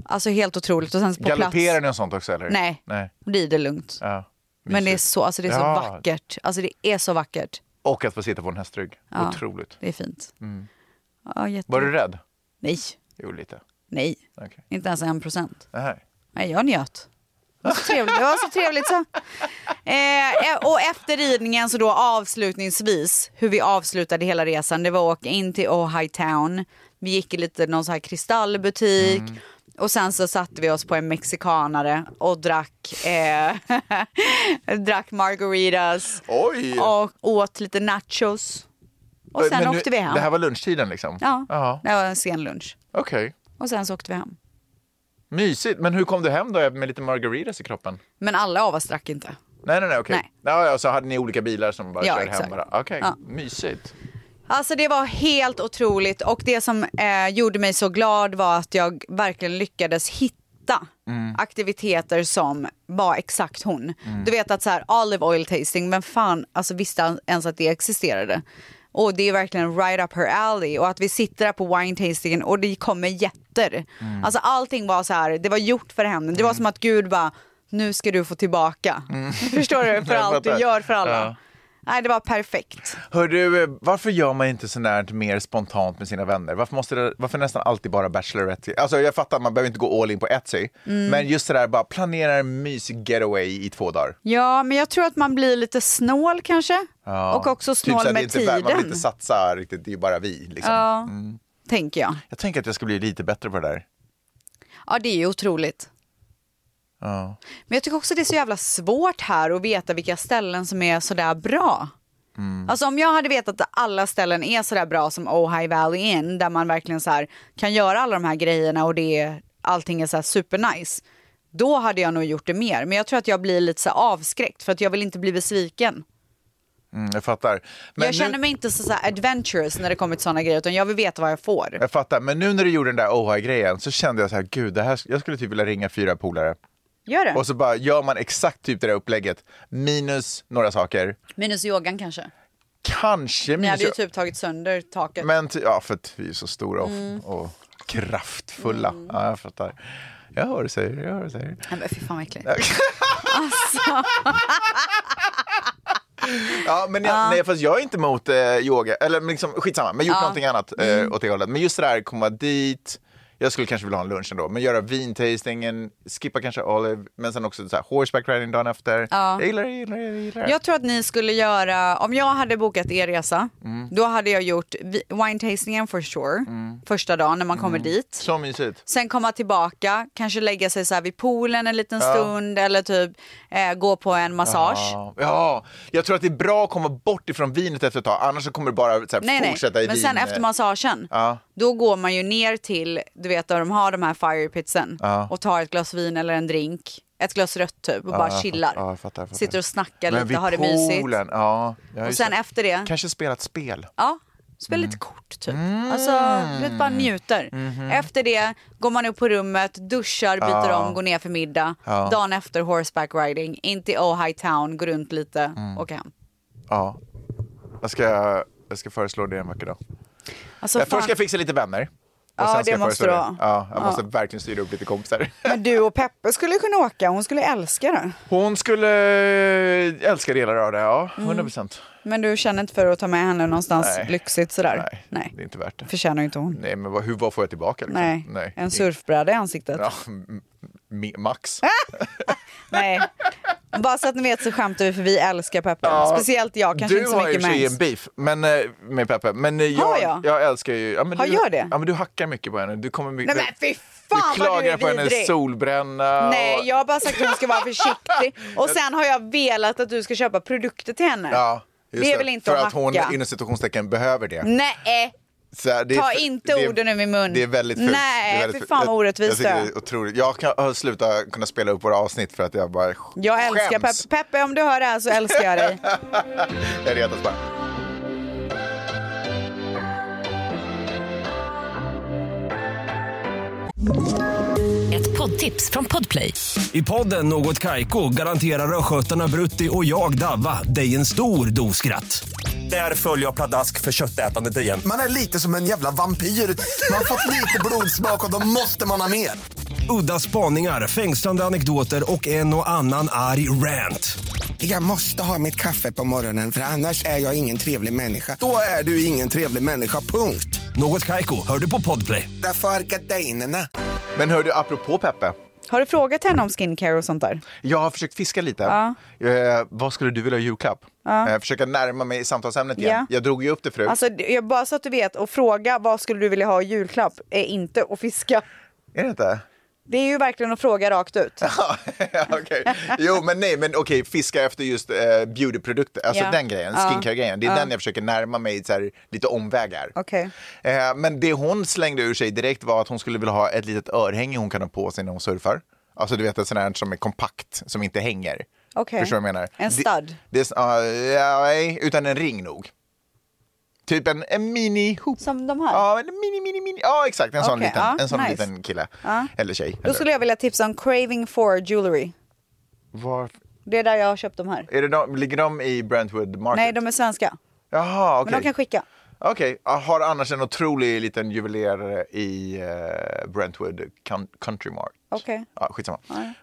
[SPEAKER 4] Alltså helt otroligt. Och sen på
[SPEAKER 5] Galopperar
[SPEAKER 4] plats.
[SPEAKER 5] ni och sånt också eller?
[SPEAKER 4] Nej.
[SPEAKER 5] Nej.
[SPEAKER 4] Rider lugnt.
[SPEAKER 5] Ja.
[SPEAKER 4] Men det är så, alltså det är så
[SPEAKER 5] Ja.
[SPEAKER 4] vackert. Alltså det är så vackert.
[SPEAKER 5] Och att få sitta på en hästrygg.
[SPEAKER 4] Ja.
[SPEAKER 5] Otroligt.
[SPEAKER 4] Det är fint.
[SPEAKER 5] Mm.
[SPEAKER 4] Ja, jätte...
[SPEAKER 5] Var du rädd?
[SPEAKER 4] Nej.
[SPEAKER 5] Jo, lite.
[SPEAKER 4] Nej,
[SPEAKER 5] Okej.
[SPEAKER 4] inte ens en procent.
[SPEAKER 5] Nej.
[SPEAKER 4] Nej, jag njöt. Det var så trevligt, det var så, trevligt så. Eh, eh, och efter ridningen så då avslutningsvis, hur vi avslutade hela resan, det var att åka in till Ohio Town. Vi gick i lite någon så här kristallbutik
[SPEAKER 5] Mm.
[SPEAKER 4] och sen så satte vi oss på en mexikanare och drack, eh, drack margaritas och åt lite nachos. Och sen
[SPEAKER 5] Men nu-
[SPEAKER 4] åkte vi hem.
[SPEAKER 5] Det här var lunchtiden liksom?
[SPEAKER 4] Ja,
[SPEAKER 5] Jaha.
[SPEAKER 4] det var en sen lunch.
[SPEAKER 5] Okej.
[SPEAKER 4] Och sen så åkte vi hem.
[SPEAKER 5] Mysigt. Men hur kom du hem då med lite margaritas i kroppen?
[SPEAKER 4] Men alla av oss drack inte.
[SPEAKER 5] Nej, nej, nej. Okej. Ja, ja, så hade ni olika bilar som bara
[SPEAKER 4] Ja,
[SPEAKER 5] körde
[SPEAKER 4] exakt.
[SPEAKER 5] hem bara. Okej,
[SPEAKER 4] Ja.
[SPEAKER 5] mysigt.
[SPEAKER 4] Alltså det var helt otroligt och det som eh, gjorde mig så glad var att jag verkligen lyckades hitta
[SPEAKER 7] Mm.
[SPEAKER 4] aktiviteter som var exakt hon.
[SPEAKER 7] Mm.
[SPEAKER 4] Du vet att så här olive oil tasting, vem fan alltså, visste ens att det existerade? Och det är verkligen right up her alley och att vi sitter här på wine tastingen och det kommer jätter.
[SPEAKER 7] Mm.
[SPEAKER 4] Alltså allting var så här, det var gjort för henne. Det var som att Gud bara, nu ska du få tillbaka. Förstår du? För
[SPEAKER 5] Jag
[SPEAKER 4] allt du
[SPEAKER 5] fattar.
[SPEAKER 4] gör för alla.
[SPEAKER 5] Ja.
[SPEAKER 4] Nej, det var perfekt.
[SPEAKER 5] Hör du, eh, varför gör man inte sån här mer spontant med sina vänner? Varför, måste det, varför nästan alltid bara Bachelorette? Alltså jag fattar, man behöver inte gå all in på Etsy.
[SPEAKER 4] Mm.
[SPEAKER 5] Men just det där, bara planera en mysig getaway i två dagar.
[SPEAKER 4] Ja, men jag tror att man blir lite snål kanske.
[SPEAKER 5] Ja. typ
[SPEAKER 4] Och också snål
[SPEAKER 5] så att det
[SPEAKER 4] med
[SPEAKER 5] inte, Man vill
[SPEAKER 4] tiden.
[SPEAKER 5] inte satsa riktigt, det är ju bara vi. Liksom.
[SPEAKER 4] Ja,
[SPEAKER 5] Mm.
[SPEAKER 4] tänker jag.
[SPEAKER 5] Jag tänker att jag ska bli lite bättre på det där.
[SPEAKER 4] Ja, det är ju otroligt.
[SPEAKER 5] Ja.
[SPEAKER 4] Men jag tycker också det är så jävla svårt här att veta vilka ställen som är sådär bra.
[SPEAKER 5] Mm.
[SPEAKER 4] Alltså om jag hade vetat att alla ställen är sådär bra som Ohio Valley Inn, där man verkligen så här kan göra alla de här grejerna och det är, allting är så här supernice. Då hade jag nog gjort det mer. Men jag tror att jag blir lite så här avskräckt för att jag vill inte bli besviken.
[SPEAKER 5] Mm, jag fattar. Men
[SPEAKER 4] jag känner mig inte så, så här adventurous när det kommer till sådana grejer utan jag vill veta vad jag får.
[SPEAKER 5] Jag fattar, men nu när du gjorde den där OHA-grejen så kände jag så här, gud, det här, jag skulle typ vilja ringa fyra polare.
[SPEAKER 4] Gör det.
[SPEAKER 5] Och så bara gör man exakt typ det där upplägget, minus några saker.
[SPEAKER 4] Minus yogan kanske.
[SPEAKER 5] Kanske
[SPEAKER 4] Ni
[SPEAKER 5] minus...
[SPEAKER 4] hade ju typ tagit sönder taket.
[SPEAKER 5] Men ty- ja, för att vi är så stora och,
[SPEAKER 4] Mm.
[SPEAKER 5] och kraftfulla. Ja, jag fattar. Jag hör det säger, jag hör det säger.
[SPEAKER 4] Nej men fy fan vad äckligt.
[SPEAKER 7] Alltså.
[SPEAKER 5] Ja, men jag, nej, fast jag är inte emot eh, yoga, eller men liksom, skitsamma, men gjort
[SPEAKER 4] Ja. Mm.
[SPEAKER 5] någonting annat eh, åt det hållet. Men just det där, komma dit, jag skulle kanske vilja ha en lunch ändå, men göra vintastingen, skippa kanske olive, men sen också så här, horseback riding dagen efter.
[SPEAKER 4] Ja.
[SPEAKER 5] Jag gillar det, jag gillar det, jag gillar det.
[SPEAKER 4] Jag tror att ni skulle göra, om jag hade bokat er resa,
[SPEAKER 5] Mm.
[SPEAKER 4] då hade jag gjort vi- wine tastingen for sure, första dagen när man kommer dit.
[SPEAKER 5] Mm. Så mysigt.
[SPEAKER 4] Sen komma tillbaka, kanske lägga sig så här vid poolen en liten
[SPEAKER 5] Ja.
[SPEAKER 4] stund eller typ eh, gå på en massage.
[SPEAKER 5] Ja. ja, jag tror att det är bra att komma bort ifrån vinet efter ett tag, annars så kommer det bara så här,
[SPEAKER 4] Nej nej,
[SPEAKER 5] fortsätta i eh,
[SPEAKER 4] men
[SPEAKER 5] vin.
[SPEAKER 4] sen efter massagen,
[SPEAKER 5] Ja.
[SPEAKER 4] då går man ju ner till, du vet där de har de här firepitsen
[SPEAKER 5] Ja.
[SPEAKER 4] och tar ett glas vin eller en drink, ett glas rött typ och
[SPEAKER 5] Ja,
[SPEAKER 4] bara
[SPEAKER 5] jag
[SPEAKER 4] chillar.
[SPEAKER 5] fattar, ja, jag fattar, jag fattar.
[SPEAKER 4] Sitter och snackar
[SPEAKER 5] Men
[SPEAKER 4] lite,
[SPEAKER 5] vid
[SPEAKER 4] har det mysigt.
[SPEAKER 5] poolen, Ja, ja,
[SPEAKER 4] Och
[SPEAKER 5] just
[SPEAKER 4] sen
[SPEAKER 5] det.
[SPEAKER 4] efter det,
[SPEAKER 5] Kanske spela ett spel.
[SPEAKER 4] ja, spela lite kort typ. Alltså, du vet, bara njuter.
[SPEAKER 5] Mhm.
[SPEAKER 4] Efter det går man upp på rummet, duschar, byter
[SPEAKER 5] Ja.
[SPEAKER 4] om, går ner för middag.
[SPEAKER 5] Ja.
[SPEAKER 4] Dagen efter horseback riding, in till Ohio Town, går runt lite,
[SPEAKER 5] Mm.
[SPEAKER 4] åker hem.
[SPEAKER 5] Ja. Jag ska, jag ska föreslå det en vacker dag.
[SPEAKER 4] Alltså,
[SPEAKER 5] jag
[SPEAKER 4] fan.
[SPEAKER 5] först ska jag fixa lite vänner.
[SPEAKER 4] Ja, det
[SPEAKER 5] jag
[SPEAKER 4] måste
[SPEAKER 5] föreslå
[SPEAKER 4] du ha.
[SPEAKER 5] Ja, jag
[SPEAKER 4] Ja.
[SPEAKER 5] måste verkligen styra upp lite kompisar.
[SPEAKER 4] Men du och Peppe skulle kunna åka, hon skulle älska det.
[SPEAKER 5] Hon skulle eh, älska delar av det, ja.
[SPEAKER 4] Mm.
[SPEAKER 5] 100 procent.
[SPEAKER 4] Men du känner inte för att ta med henne någonstans
[SPEAKER 5] Nej.
[SPEAKER 4] lyxigt sådär?
[SPEAKER 5] Nej, det är inte värt det.
[SPEAKER 4] Förtjänar ju inte hon.
[SPEAKER 5] Nej, men vad, hur, vad får jag tillbaka? Liksom?
[SPEAKER 4] Nej, en Ah, surfbräda i ansiktet.
[SPEAKER 5] Ja, m- m- max.
[SPEAKER 4] Nej. Bara så att ni vet så skämtar vi för vi älskar Peppe.
[SPEAKER 5] Ja.
[SPEAKER 4] Speciellt jag, kanske
[SPEAKER 5] du
[SPEAKER 4] inte så
[SPEAKER 5] har ju i och
[SPEAKER 4] mycket
[SPEAKER 5] för sig en
[SPEAKER 4] Max.
[SPEAKER 5] beef men, eh, med Peppe. Men eh, jag,
[SPEAKER 4] Har jag?
[SPEAKER 5] älskar ju... Ja, men
[SPEAKER 4] Har
[SPEAKER 5] du,
[SPEAKER 4] jag det?
[SPEAKER 5] Ja, men du hackar mycket på henne. Du kommer
[SPEAKER 4] Nej
[SPEAKER 5] mycket...
[SPEAKER 4] men fy
[SPEAKER 5] Du
[SPEAKER 4] fan vad du
[SPEAKER 5] klagar
[SPEAKER 4] är
[SPEAKER 5] på hennes
[SPEAKER 4] vidrig.
[SPEAKER 5] solbränna.
[SPEAKER 4] Nej,
[SPEAKER 5] och-
[SPEAKER 4] jag har bara sagt att hon ska vara försiktig. Och sen har jag velat att du ska köpa produkter till henne.
[SPEAKER 5] Ja, just
[SPEAKER 4] det är väl inte att
[SPEAKER 5] För att,
[SPEAKER 4] hacka?
[SPEAKER 5] hon inom situationstecken behöver det.
[SPEAKER 4] Nej,
[SPEAKER 5] Så här, det är-
[SPEAKER 4] ta inte
[SPEAKER 5] det är-
[SPEAKER 4] orden ur min mun.
[SPEAKER 5] Det är väldigt fult.
[SPEAKER 4] Nej,
[SPEAKER 5] det är väldigt
[SPEAKER 4] fy fan
[SPEAKER 5] fult.
[SPEAKER 4] vad orättvist
[SPEAKER 5] jag, jag
[SPEAKER 4] det
[SPEAKER 5] tycker det är otroligt. Jag kan jag har slutat kunna spela upp våra avsnitt för att jag bara skäms.
[SPEAKER 4] Jag älskar Peppe. Peppe, om du hör det här så älskar jag dig.
[SPEAKER 5] Jag retas bara.
[SPEAKER 12] Ett poddtips från Podplay.
[SPEAKER 14] I podden Något Kaiko garanterar östgötarna Brutti och jag, Davva, dig en stor dos skratt. Där följer jag pladask för köttätandet igen.
[SPEAKER 15] Man är lite som en jävla vampyr. Man har fått lite blodsmak och då måste man ha mer.
[SPEAKER 14] Udda spaningar, fängslande anekdoter och en och annan arg rant.
[SPEAKER 15] Jag måste ha mitt kaffe på morgonen för annars är jag ingen trevlig människa. Då är du ingen trevlig människa, punkt.
[SPEAKER 14] Något Kaiko, hör du på Podplay.
[SPEAKER 15] Därför arkadeinerna.
[SPEAKER 5] Men hör du, apropå Peppe.
[SPEAKER 4] Har du frågat henne om skincare och sånt där?
[SPEAKER 5] Jag har försökt fiska lite.
[SPEAKER 4] Ja.
[SPEAKER 5] Eh, vad skulle du vilja ha i julklapp?
[SPEAKER 4] Ja.
[SPEAKER 5] Eh, försöka närma mig samtalsämnet igen.
[SPEAKER 4] Ja.
[SPEAKER 5] Jag drog ju upp det förut.
[SPEAKER 4] Alltså, det- jag bara så att du vet, och fråga vad skulle du vilja ha i julklapp är inte att fiska.
[SPEAKER 5] Är det inte?
[SPEAKER 4] Det är ju verkligen att fråga rakt ut.
[SPEAKER 5] Okej. Jo, men nej, men okej, fiska efter just eh, beautyprodukter, alltså
[SPEAKER 4] Ja.
[SPEAKER 5] den grejen,
[SPEAKER 4] Ja.
[SPEAKER 5] skincare-grejen. Det är
[SPEAKER 4] Ja.
[SPEAKER 5] den jag försöker närma mig så här, lite omvägar.
[SPEAKER 4] Okej.
[SPEAKER 5] Eh, men det hon slängde ur sig direkt var att hon skulle vilja ha ett litet örhänge hon kan ha på sig när hon surfar. Alltså du vet ett sånt här som är kompakt, som inte hänger.
[SPEAKER 4] Okej.
[SPEAKER 5] Förstår du vad jag menar?
[SPEAKER 4] En
[SPEAKER 5] Det-
[SPEAKER 4] stud.
[SPEAKER 5] Det, är s- ja, ja, nej, utan en ring nog. Typ en, en mini hoop.
[SPEAKER 4] Som de här?
[SPEAKER 5] Ja, en mini, mini, mini. Ja, exakt. En sån,
[SPEAKER 4] Okej,
[SPEAKER 5] liten,
[SPEAKER 4] ja,
[SPEAKER 5] en sån
[SPEAKER 4] nice.
[SPEAKER 5] liten kille.
[SPEAKER 4] Ja.
[SPEAKER 5] Eller tjej.
[SPEAKER 4] Då skulle jag vilja tipsa om Craving for Jewelry.
[SPEAKER 5] Var,
[SPEAKER 4] Det är där jag har köpt de här.
[SPEAKER 5] är det de, ligger de i Brentwood Market?
[SPEAKER 4] Nej, de är svenska.
[SPEAKER 5] Jaha, okej.
[SPEAKER 4] Men de kan skicka.
[SPEAKER 5] Okej, jag har annars en otrolig liten juvelerare i eh, Brentwood Con- Country Mart.
[SPEAKER 4] Okej.
[SPEAKER 5] Ja, skitsamma.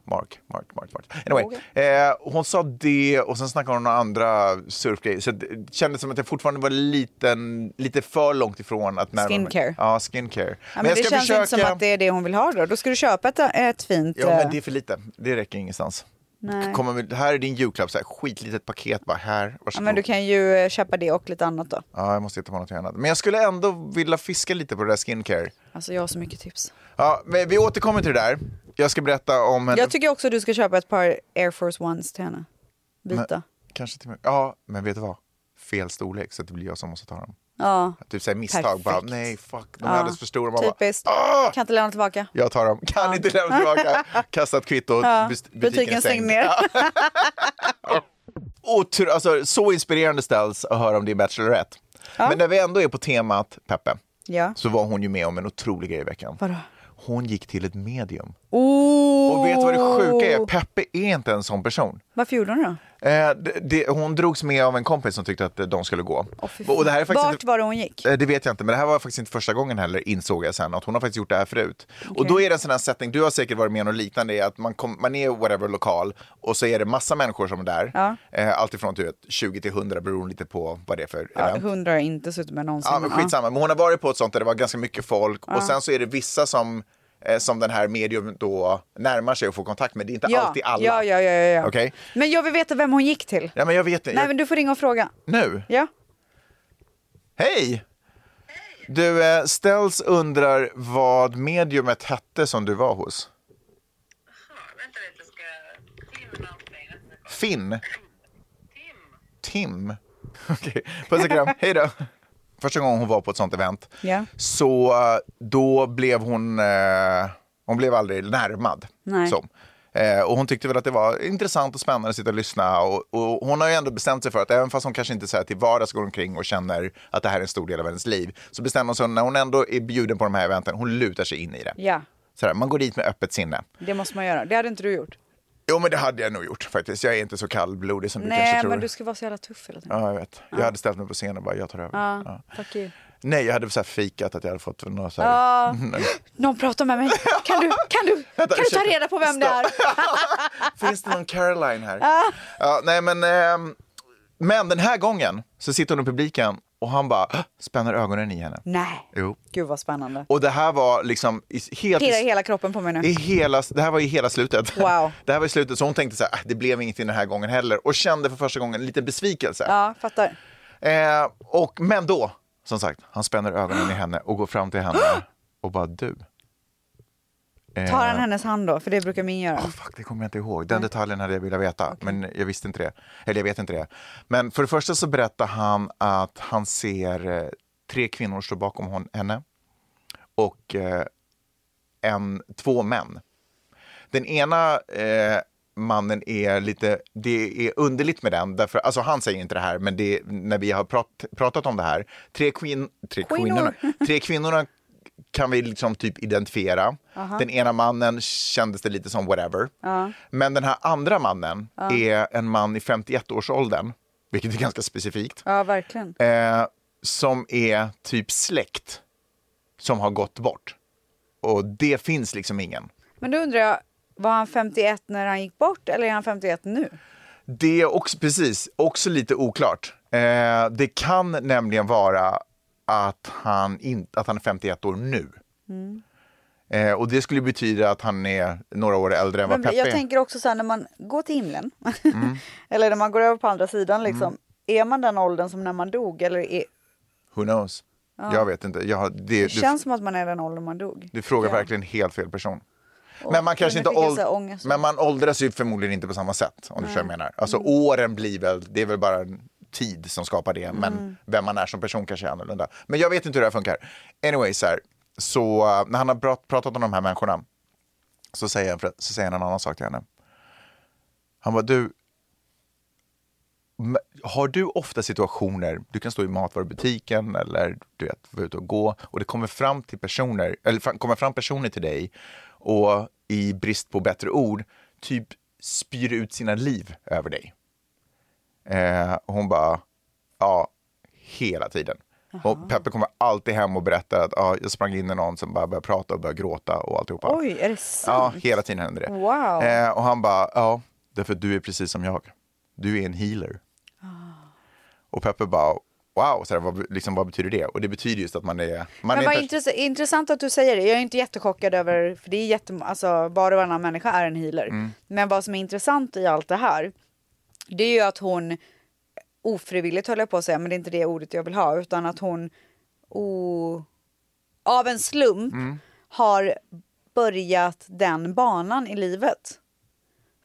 [SPEAKER 5] Mark, Mark, Mark, Mark. Anyway,
[SPEAKER 4] Okej.
[SPEAKER 5] eh, hon sa det och sen snackade hon om andra surfgrejer. Så det kändes som att jag fortfarande var liten, lite för långt ifrån att närma
[SPEAKER 4] Skincare.
[SPEAKER 5] mig. Ja, skincare.
[SPEAKER 4] Ja, men det känns inte som att det är det hon vill ha då. Då ska du köpa ett, ett fint...
[SPEAKER 5] Ja, men
[SPEAKER 4] eh,
[SPEAKER 5] det är för lite. Det räcker ingenstans.
[SPEAKER 4] Nej.
[SPEAKER 5] Kommer med, här är din julklapp, så här, skitlitet paket bara här.
[SPEAKER 4] ja,
[SPEAKER 5] Varsågod.
[SPEAKER 4] men du kan ju eh, köpa det och lite annat då.
[SPEAKER 5] Ja, jag måste hitta på något annat. Men jag skulle ändå vilja fiska lite på det där skincare.
[SPEAKER 4] Alltså jag har så mycket tips.
[SPEAKER 5] Ja, men vi återkommer till det där. Jag ska berätta om en...
[SPEAKER 4] Jag tycker också du ska köpa ett par Air Force Ones till henne. Vita.
[SPEAKER 5] Men, kanske till mig. Ja, men vet du vad? Fel storlek, så att det blir jag som måste ta dem.
[SPEAKER 4] Ja.
[SPEAKER 5] Typ såhär misstag bara, nej fuck, de är alldeles för stora. Ah! Man bara,
[SPEAKER 4] Typiskt. Kan inte lämna tillbaka.
[SPEAKER 5] jag tar dem, kan inte lämna tillbaka. Kastat kvitto,
[SPEAKER 4] Ja, butiken
[SPEAKER 5] butiken, butiken
[SPEAKER 4] stängd
[SPEAKER 5] stängd.
[SPEAKER 4] ner.
[SPEAKER 5] Otro, alltså, så inspirerande ställs att höra om din Bachelorette. Men när vi ändå är på temat Peppe,
[SPEAKER 4] Ja.
[SPEAKER 5] så var hon ju med om en otrolig grej i veckan.
[SPEAKER 4] Vadå?
[SPEAKER 5] Hon gick till ett medium.
[SPEAKER 4] Oh.
[SPEAKER 5] Och vet du vad det sjuka är? Peppe är inte en sån person.
[SPEAKER 4] Varför gjorde hon det då?
[SPEAKER 5] Eh, det, det, hon drogs med av en kompis som tyckte att eh, de skulle gå. och det här är faktiskt
[SPEAKER 4] Vart
[SPEAKER 5] inte-
[SPEAKER 4] var det hon gick?
[SPEAKER 5] Eh, Det vet jag inte, men det här var faktiskt inte första gången heller, insåg jag sen. Att hon har faktiskt gjort det här förut. Och då är det en sån här setting, du har säkert varit med om något liknande, är att man, kom, man är i whatever lokal och så är det massa människor som är där.
[SPEAKER 4] Ja.
[SPEAKER 5] Eh, allt ifrån du vet, 20 till 100 beroende lite på vad det är för
[SPEAKER 4] Ja,
[SPEAKER 5] event.
[SPEAKER 4] hundra har jag inte suttit med någonsin.
[SPEAKER 5] eh. Ja, men skitsamma, men hon har varit på ett sånt där det var ganska mycket folk
[SPEAKER 4] Ja.
[SPEAKER 5] och sen så är det vissa som, eh, som den här medium då närmar sig och får kontakt med. Det är inte
[SPEAKER 4] Ja.
[SPEAKER 5] alltid alla.
[SPEAKER 4] Ja, ja, ja, ja, ja.
[SPEAKER 5] Okej?
[SPEAKER 4] Men jag vill veta vem hon gick till.
[SPEAKER 5] Ja, men jag vet inte.
[SPEAKER 4] Nej, men du får ringa och fråga.
[SPEAKER 5] Nu?
[SPEAKER 4] Ja.
[SPEAKER 5] Hej! Du, eh, Ställs undrar vad mediumet hette som du var hos. Finn? Tim. Okej, puss och kram. Hej då. Första gången hon var på ett sånt event
[SPEAKER 4] Ja.
[SPEAKER 5] så eh, då blev hon, eh, hon blev aldrig närmad.
[SPEAKER 4] Nej.
[SPEAKER 5] Så. Eh, och hon tyckte väl att det var intressant och spännande att sitta och lyssna. Och, och hon har ju ändå bestämt sig för att även fast hon kanske inte så här till vardags går omkring och känner att det här är en stor del av hennes liv, så bestämmer hon sig när hon ändå är bjuden på de här eventen, hon lutar sig in i det.
[SPEAKER 4] Ja,
[SPEAKER 5] Så här, man går dit med öppet sinne.
[SPEAKER 4] det måste man göra. Det hade inte du gjort.
[SPEAKER 5] Jo, men det hade jag nog gjort faktiskt. Jag är inte så kallblodig som du
[SPEAKER 4] Nej,
[SPEAKER 5] kanske
[SPEAKER 4] men
[SPEAKER 5] tror.
[SPEAKER 4] du ska vara så jävla tuff hela tiden.
[SPEAKER 5] Ja, jag vet. Jag hade ställt mig på scenen och bara, jag tar över.
[SPEAKER 4] Ja,
[SPEAKER 5] Ja.
[SPEAKER 4] tack you.
[SPEAKER 5] Nej, jag hade så här fikat att jag hade fått några så här...
[SPEAKER 4] Ja.
[SPEAKER 5] Nej.
[SPEAKER 4] Någon pratar med mig. Kan du, kan du, kan du ta
[SPEAKER 5] ursäkta.
[SPEAKER 4] reda på vem det är?
[SPEAKER 5] Finns det någon Caroline här?
[SPEAKER 4] Ja.
[SPEAKER 5] Ja, nej, men, ehm, men den här gången så sitter hon i publiken och han bara "Hå!" spänner ögonen i henne.
[SPEAKER 4] Nej,
[SPEAKER 5] Jo.
[SPEAKER 4] gud vad spännande.
[SPEAKER 5] Och det här var liksom i, helt...
[SPEAKER 4] Pirrar i hela kroppen på mig nu.
[SPEAKER 5] I hela, det här var i hela slutet.
[SPEAKER 4] Wow.
[SPEAKER 5] Det här var i slutet, så hon tänkte så här, "Ah, det blev ingenting den här gången heller. Och kände för första gången en liten besvikelse.
[SPEAKER 4] Ja, fattar.
[SPEAKER 5] Eh, och, men då, som sagt, han spänner ögonen i henne och går fram till henne och bara du. Eh,
[SPEAKER 4] Tar han hennes hand då? För det brukar min göra.
[SPEAKER 5] Ah, Fuck, det kommer jag inte ihåg. Den detaljen hade jag velat veta, men jag visste inte det. Eller jag vet inte det. Men för det första så berättar han att han ser eh, tre kvinnor stå bakom hon, henne och eh, en, två män. Den ena eh, mannen är lite, det är underligt med den, därför, alltså han säger inte det här, men det, när vi har prat, pratat om det här, tre, kvin, tre,
[SPEAKER 16] Kvinnor.
[SPEAKER 5] kvinnorna, tre kvinnorna kan vi liksom typ identifiera.
[SPEAKER 16] Aha.
[SPEAKER 5] Den ena mannen kändes det lite som whatever.
[SPEAKER 16] Ja.
[SPEAKER 5] Men den här andra mannen
[SPEAKER 4] Ja.
[SPEAKER 5] är en man i 51-årsåldern, vilket är ganska specifikt,
[SPEAKER 4] Ja, verkligen.
[SPEAKER 5] eh, som är typ släkt som har gått bort. Och det finns liksom ingen.
[SPEAKER 4] Men då undrar jag, var han 51 när han gick bort eller är han 51 nu?
[SPEAKER 5] Det är också, precis, också lite oklart. Eh, det kan nämligen vara att han, in, att han är 51 år nu.
[SPEAKER 4] Mm.
[SPEAKER 5] Eh, och det skulle betyda att han är några år äldre än vad
[SPEAKER 4] Men
[SPEAKER 5] Peppe
[SPEAKER 4] jag
[SPEAKER 5] är.
[SPEAKER 4] tänker också så här när man går till himlen, eller när man går över på andra sidan liksom,
[SPEAKER 5] Mm.
[SPEAKER 4] är man den åldern som när man dog? Eller är,
[SPEAKER 5] Who knows?
[SPEAKER 4] Ja.
[SPEAKER 5] Jag vet inte. Jag, har- det,
[SPEAKER 4] det
[SPEAKER 5] du,
[SPEAKER 4] känns som att man är den åldern man dog.
[SPEAKER 5] du frågar
[SPEAKER 4] Ja.
[SPEAKER 5] verkligen helt fel person.
[SPEAKER 4] Och-
[SPEAKER 5] Men man, kanske
[SPEAKER 4] men
[SPEAKER 5] inte
[SPEAKER 4] jag fick
[SPEAKER 5] åld...
[SPEAKER 4] så här ångest.
[SPEAKER 5] men man åldras ju förmodligen inte på samma sätt. Om du förstår vad jag menar.
[SPEAKER 4] Mm.
[SPEAKER 5] Alltså, Åren blir väl, det är väl bara en tid som skapar det. Men
[SPEAKER 16] Mm.
[SPEAKER 5] vem man är som person kanske är annorlunda. Men jag vet inte hur det här funkar. Anyway, så, här, så eh, när han har prat- pratat om de här människorna så säger, han, så säger han en annan sak till henne. Han bara, du, m- har du ofta situationer, du kan stå i matvarubutiken eller du vet, vara ute och gå och det kommer fram, till personer, eller fram, kommer fram personer till dig och i brist på bättre ord typ spyr ut sina liv över dig. Eh, och hon bara, ja, hela tiden. Och Peppe kommer alltid hem och berättar att ja, jag sprang in i någon som bara började prata och började gråta och alltihopa.
[SPEAKER 4] Oj, är det
[SPEAKER 5] Ja,
[SPEAKER 4] sant?
[SPEAKER 5] hela tiden händer det.
[SPEAKER 4] Wow.
[SPEAKER 5] Eh, och han bara, ja, därför att du är precis som jag. Du är en healer.
[SPEAKER 4] Ah.
[SPEAKER 5] Och Peppe bara, wow, så här, vad, liksom, vad betyder det? Och det betyder just att man är... Man
[SPEAKER 4] men
[SPEAKER 5] är
[SPEAKER 4] vad
[SPEAKER 5] en pers-
[SPEAKER 4] intress- intressant att du säger det. Jag är inte jättechockad över, för det är jätte, alltså var och varannan människa är en healer.
[SPEAKER 5] Mm.
[SPEAKER 4] Men vad som är intressant i allt det här, det är ju att hon ofrivilligt höll jag på att säga, men det är inte det ordet jag vill ha, utan att hon o, av en slump
[SPEAKER 5] Mm.
[SPEAKER 4] har börjat den banan i livet.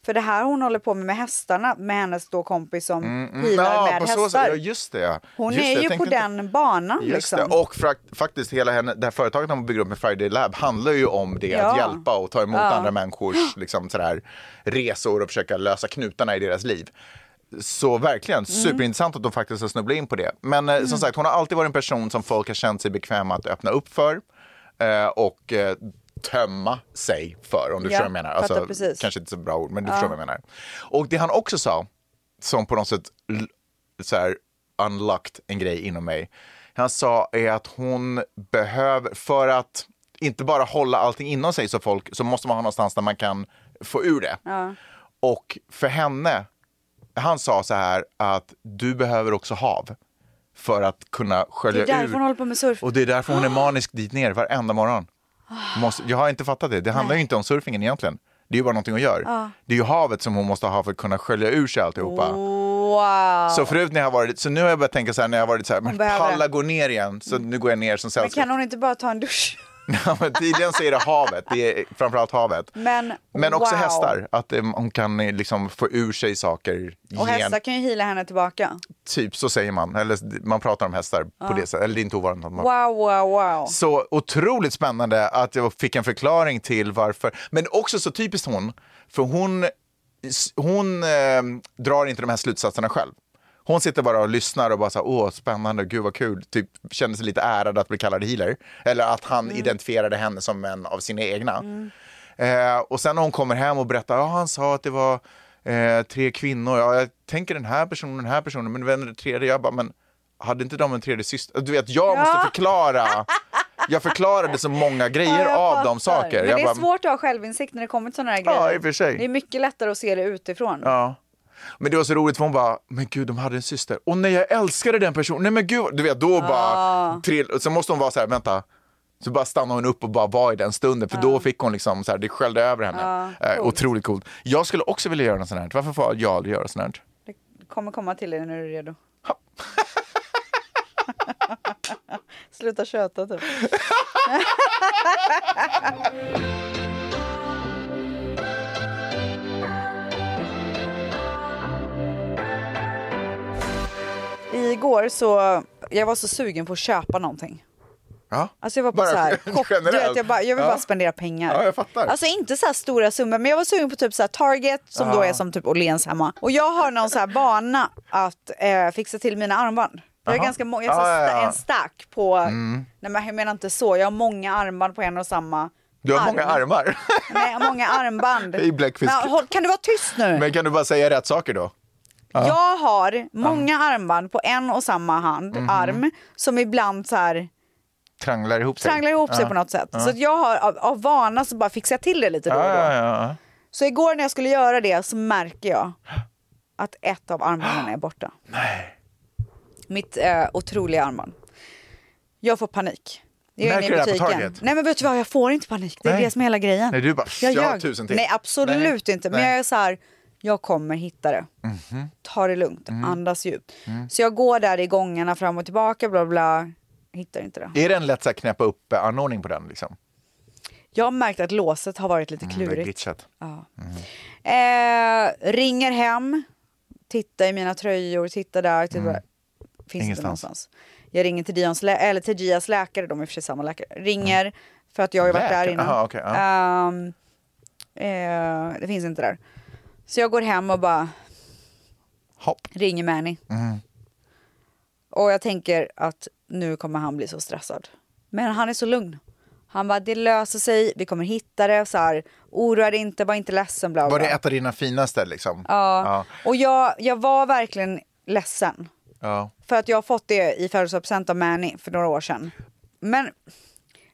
[SPEAKER 4] För det här hon håller på med med hästarna, med hennes då kompis som
[SPEAKER 5] Mm, mm.
[SPEAKER 4] healar
[SPEAKER 5] Ja,
[SPEAKER 4] med
[SPEAKER 5] på så sätt.
[SPEAKER 4] hästar.
[SPEAKER 5] Ja, just det. ja.
[SPEAKER 4] Hon
[SPEAKER 5] just det,
[SPEAKER 4] är
[SPEAKER 5] jag
[SPEAKER 4] ju på
[SPEAKER 5] tänkte inte-
[SPEAKER 4] den banan
[SPEAKER 5] Just
[SPEAKER 4] liksom.
[SPEAKER 5] det. Och frakt- faktiskt hela henne, det här företaget de bygger upp med Friday Lab handlar ju om det,
[SPEAKER 4] Ja.
[SPEAKER 5] att hjälpa och ta emot
[SPEAKER 4] Ja.
[SPEAKER 5] andra människors liksom, sådär, resor och försöka lösa knutarna i deras liv. Så
[SPEAKER 4] Mm.
[SPEAKER 5] verkligen, superintressant att de faktiskt har snubblat in på det. Men eh, som sagt, hon har alltid varit en person som folk har känt sig bekväma att öppna upp för eh, och eh, tömma sig för, om
[SPEAKER 4] Ja,
[SPEAKER 5] du förstår vad jag menar. Alltså,
[SPEAKER 4] fattar precis.
[SPEAKER 5] kanske inte så bra ord, men du
[SPEAKER 4] Ja.
[SPEAKER 5] förstår vad jag menar. Och det han också sa, som på något sätt l- så här, unlocked en grej inom mig. Han sa är att hon behöver, för att inte bara hålla allting inom sig så folk, så måste man ha någonstans där man kan få ur det.
[SPEAKER 4] Ja.
[SPEAKER 5] Och för henne, han sa så här att du behöver också hav för att kunna
[SPEAKER 4] Det är
[SPEAKER 5] skölja
[SPEAKER 4] därför
[SPEAKER 5] ur.
[SPEAKER 4] hon håller på med surf.
[SPEAKER 5] Och det är därför hon är manisk dit ner varenda morgon. Måste, jag har inte fattat det. Det handlar ju inte om surfingen egentligen. Det är ju bara någonting hon gör.
[SPEAKER 4] Ja.
[SPEAKER 5] Det är ju havet som hon måste ha för att kunna skölja ur sig alltihopa.
[SPEAKER 4] Wow.
[SPEAKER 5] Så förut när jag har varit, så nu har jag börjat tänka så här när jag har varit så här, men
[SPEAKER 4] behöver
[SPEAKER 5] palla gå ner igen, så nu går jag ner som
[SPEAKER 4] Men
[SPEAKER 5] sällskap.
[SPEAKER 4] kan hon inte bara ta en dusch?
[SPEAKER 5] Ja, men Tydligen så är det havet, det är framförallt havet.
[SPEAKER 4] Men,
[SPEAKER 5] Men också
[SPEAKER 4] wow.
[SPEAKER 5] hästar, att eh, hon kan eh, liksom få ur sig saker.
[SPEAKER 4] Och hästar kan ju hila henne tillbaka.
[SPEAKER 5] Typ, så säger man. Eller man pratar om hästar
[SPEAKER 4] Ja.
[SPEAKER 5] på det sättet. Eller det är inte ovanligt att man
[SPEAKER 4] Wow, wow, wow.
[SPEAKER 5] så otroligt spännande att jag fick en förklaring till varför. Men också så typiskt hon, för hon, hon eh, drar inte de här slutsatserna själv. Hon sitter bara och lyssnar och bara så här, åh spännande, gud vad kul, typ känner sig lite ärad att bli kallad healer. Eller att han identifierade henne som en av sina egna. Eh, och sen när hon kommer hem och berättar, ja han sa att det var eh, tre kvinnor, ja, jag tänker den här personen, den här personen, men vem är den tredje? Jag bara, men hade inte de en tredje syster? Du vet, jag måste förklara. Jag förklarade så många grejer
[SPEAKER 4] Ja, jag
[SPEAKER 5] av
[SPEAKER 4] fattar.
[SPEAKER 5] de saker.
[SPEAKER 4] Men
[SPEAKER 5] jag
[SPEAKER 4] det är
[SPEAKER 5] bara,
[SPEAKER 4] svårt att ha självinsikt när det kommer till sådana här grejer.
[SPEAKER 5] Ja, i och för sig.
[SPEAKER 4] Det är mycket lättare att se det utifrån.
[SPEAKER 5] Ja. Men det var så roligt för hon bara, men gud de hade en syster. Och nej jag älskade den personen, nej men gud. Du vet då bara, trill, och så måste hon vara så här, vänta. Så bara stannade hon upp och bara var i den stunden för då fick hon liksom så här, det sköljde över henne.
[SPEAKER 4] Ja,
[SPEAKER 5] Eh,
[SPEAKER 4] coolt.
[SPEAKER 5] otroligt coolt. Jag skulle också vilja göra något sånt här. Varför får jag aldrig göra sånt här?
[SPEAKER 4] Det kommer komma till dig när du är redo. Sluta köta typ. Igår så, jag var så sugen på att köpa någonting.
[SPEAKER 5] Ja.
[SPEAKER 4] Alltså jag var på så här, chock, du
[SPEAKER 5] generellt.
[SPEAKER 4] vet, jag, bara, jag vill
[SPEAKER 5] Ja.
[SPEAKER 4] bara spendera pengar.
[SPEAKER 5] Ja, jag fattar.
[SPEAKER 4] Alltså inte så här stora summor, men jag var sugen på typ så här Target som då
[SPEAKER 5] Ja.
[SPEAKER 4] är som typ Åhléns hemma. Och jag har någon så här vana att eh, fixa till mina armband. Jag har
[SPEAKER 5] Jaha.
[SPEAKER 4] ganska många, jag har
[SPEAKER 5] Ja,
[SPEAKER 4] så här
[SPEAKER 5] ja,
[SPEAKER 4] sta-
[SPEAKER 5] ja.
[SPEAKER 4] en stack på,
[SPEAKER 5] Mm.
[SPEAKER 4] nej men jag menar inte så, jag har många armband på en och samma.
[SPEAKER 5] Du har
[SPEAKER 4] arm.
[SPEAKER 5] många armar.
[SPEAKER 4] Nej, jag har många armband.
[SPEAKER 5] I Blackfish.
[SPEAKER 4] Men håll- kan du vara tyst nu?
[SPEAKER 5] Men kan du bara säga rätt saker då? Ja. Ah.
[SPEAKER 4] Jag har många armband på en och samma hand,
[SPEAKER 5] Mhm.
[SPEAKER 4] arm, som ibland så här
[SPEAKER 5] Tranglar ihop sig.
[SPEAKER 4] tranglar ihop sig
[SPEAKER 5] Ja.
[SPEAKER 4] på något sätt.
[SPEAKER 5] Ja.
[SPEAKER 4] Så att jag har av, av vana så bara fixar jag till det lite då och då.
[SPEAKER 5] Ja, ja, ja.
[SPEAKER 4] Så igår när jag skulle göra det så märker jag att ett av armbanden är borta. Nej. Mitt eh, otroliga armband. Jag får panik. Jag är
[SPEAKER 5] Märker
[SPEAKER 4] inne
[SPEAKER 5] du
[SPEAKER 4] i
[SPEAKER 5] det här på
[SPEAKER 4] butiken.
[SPEAKER 5] Target?
[SPEAKER 4] Nej men vet du vad, jag får inte panik. Det är
[SPEAKER 5] Nej.
[SPEAKER 4] det som är hela grejen.
[SPEAKER 5] Nej, du bara, jag har tusen till.
[SPEAKER 4] Nej absolut
[SPEAKER 5] Nej.
[SPEAKER 4] inte. Men
[SPEAKER 5] Nej.
[SPEAKER 4] jag är så här, jag kommer hitta det.
[SPEAKER 5] Mhm.
[SPEAKER 4] Ta det lugnt,
[SPEAKER 5] Mm.
[SPEAKER 4] andas djupt.
[SPEAKER 5] Mm.
[SPEAKER 4] Så jag går där i gångarna fram och tillbaka, bla bla. Hittar inte det.
[SPEAKER 5] Är det en lätt så här, knäppa upp-anordning på den? Liksom?
[SPEAKER 4] Jag har märkt att låset har varit lite
[SPEAKER 5] Mm, det är Mm.
[SPEAKER 4] klurigt.
[SPEAKER 5] glitchat.
[SPEAKER 4] Ja. Eh, ringer hem, tittar i mina tröjor, tittar där, tittar där. Finns inte
[SPEAKER 5] Mm. Ingenstans.
[SPEAKER 4] någonstans. Jag ringer till, Dions lä- eller till Gias läkare, de är i och för sig samma läkare. Ringer, för att jag har ju varit där
[SPEAKER 5] Mm. Läkare?
[SPEAKER 4] innan.
[SPEAKER 5] Aha, okej, ja.
[SPEAKER 4] Ehm, eh, det finns inte där. Så jag går hem och bara ringer Mani.
[SPEAKER 5] Mm.
[SPEAKER 4] Och jag tänker att nu kommer han bli så stressad. Men han är så lugn. Han bara, det löser sig, vi kommer hitta det. Så här, oroa dig inte, var inte ledsen. Bla, bla.
[SPEAKER 5] Var det ett av dina finaste? Liksom?
[SPEAKER 4] Ja. Och jag, jag var verkligen ledsen.
[SPEAKER 5] Ja.
[SPEAKER 4] För att jag har fått det i födelsedagspresent av Manny för några år sedan. Men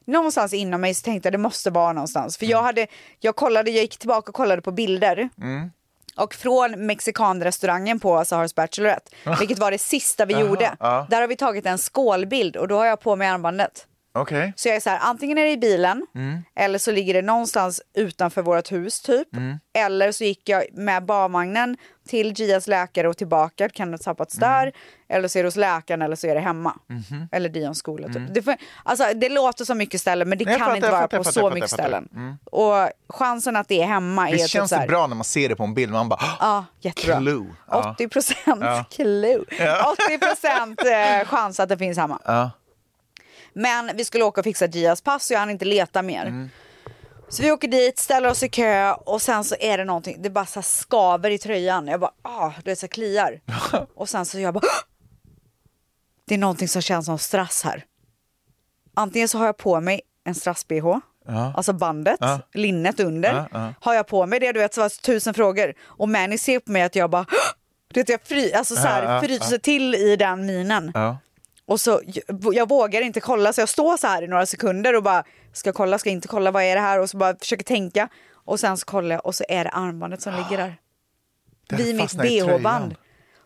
[SPEAKER 4] någonstans inom mig så tänkte jag det måste vara någonstans. För jag, hade, jag, kollade, jag gick tillbaka och kollade på bilder.
[SPEAKER 5] Mm.
[SPEAKER 4] Och från mexikanrestaurangen på Saharas Bachelorette, vilket var det sista vi
[SPEAKER 5] Ah. Jaha,
[SPEAKER 4] gjorde.
[SPEAKER 5] ja.
[SPEAKER 4] Där har vi tagit en skålbild och då har jag på mig armbandet.
[SPEAKER 5] Okej.
[SPEAKER 4] Så jag är så här, antingen är det i bilen
[SPEAKER 5] Mm.
[SPEAKER 4] eller så ligger det någonstans utanför vårt hus typ.
[SPEAKER 5] Mm.
[SPEAKER 4] Eller så gick jag med barvagnen till Gias läkare och tillbaka. Kan det ha tappats
[SPEAKER 5] Mm.
[SPEAKER 4] där? Eller så är det hos läkaren eller så är det hemma.
[SPEAKER 5] Mhm.
[SPEAKER 4] Eller Dions skola. Typ.
[SPEAKER 5] Mm.
[SPEAKER 4] Det, får, alltså, det låter så mycket ställen men det
[SPEAKER 5] Nej, jag
[SPEAKER 4] kan
[SPEAKER 5] fattar,
[SPEAKER 4] inte
[SPEAKER 5] jag
[SPEAKER 4] vara
[SPEAKER 5] fattar,
[SPEAKER 4] på
[SPEAKER 5] jag
[SPEAKER 4] så
[SPEAKER 5] fattar, jag
[SPEAKER 4] mycket
[SPEAKER 5] fattar.
[SPEAKER 4] ställen.
[SPEAKER 5] Mm.
[SPEAKER 4] Och chansen att det är hemma är
[SPEAKER 5] Visst
[SPEAKER 4] typ
[SPEAKER 5] känns
[SPEAKER 4] så här,
[SPEAKER 5] det bra när man ser det på en bild? Man bara,
[SPEAKER 4] Ja, jättebra.
[SPEAKER 5] clue. Ja.
[SPEAKER 4] 80 procent
[SPEAKER 5] Ja.
[SPEAKER 4] clue.
[SPEAKER 5] Ja.
[SPEAKER 4] 80 procent eh, chans att det finns hemma.
[SPEAKER 5] Ja.
[SPEAKER 4] Men vi skulle åka och fixa Gias pass så jag hann inte leta mer.
[SPEAKER 5] Mm.
[SPEAKER 4] Så vi åker dit, ställer oss i kö och sen så är det någonting, det bara så här skaver i tröjan. Jag bara, ah, det är så här kliar. och sen så jag bara, "Ah!" det är någonting som känns som strass här. Antingen så har jag på mig en strass-bh,
[SPEAKER 5] Ja.
[SPEAKER 4] alltså bandet,
[SPEAKER 5] Ja.
[SPEAKER 4] linnet under.
[SPEAKER 5] Ja, ja.
[SPEAKER 4] Har jag på mig det? Du vet, så var det tusen frågor. Och Manny ser på mig att jag bara, "Ah!" du vet, jag fry, alltså så här,
[SPEAKER 5] Ja, ja,
[SPEAKER 4] fryser
[SPEAKER 5] ja.
[SPEAKER 4] till i den minen.
[SPEAKER 5] Ja.
[SPEAKER 4] Och så, jag, jag vågar inte kolla så jag står så här i några sekunder och bara ska jag kolla, ska jag inte kolla, vad är det här? Och så bara försöker tänka och sen så kollar jag och så är det armbandet som ligger där.
[SPEAKER 5] Det
[SPEAKER 4] Vid mitt
[SPEAKER 5] fastnar i
[SPEAKER 4] bh-band.
[SPEAKER 5] tröjan.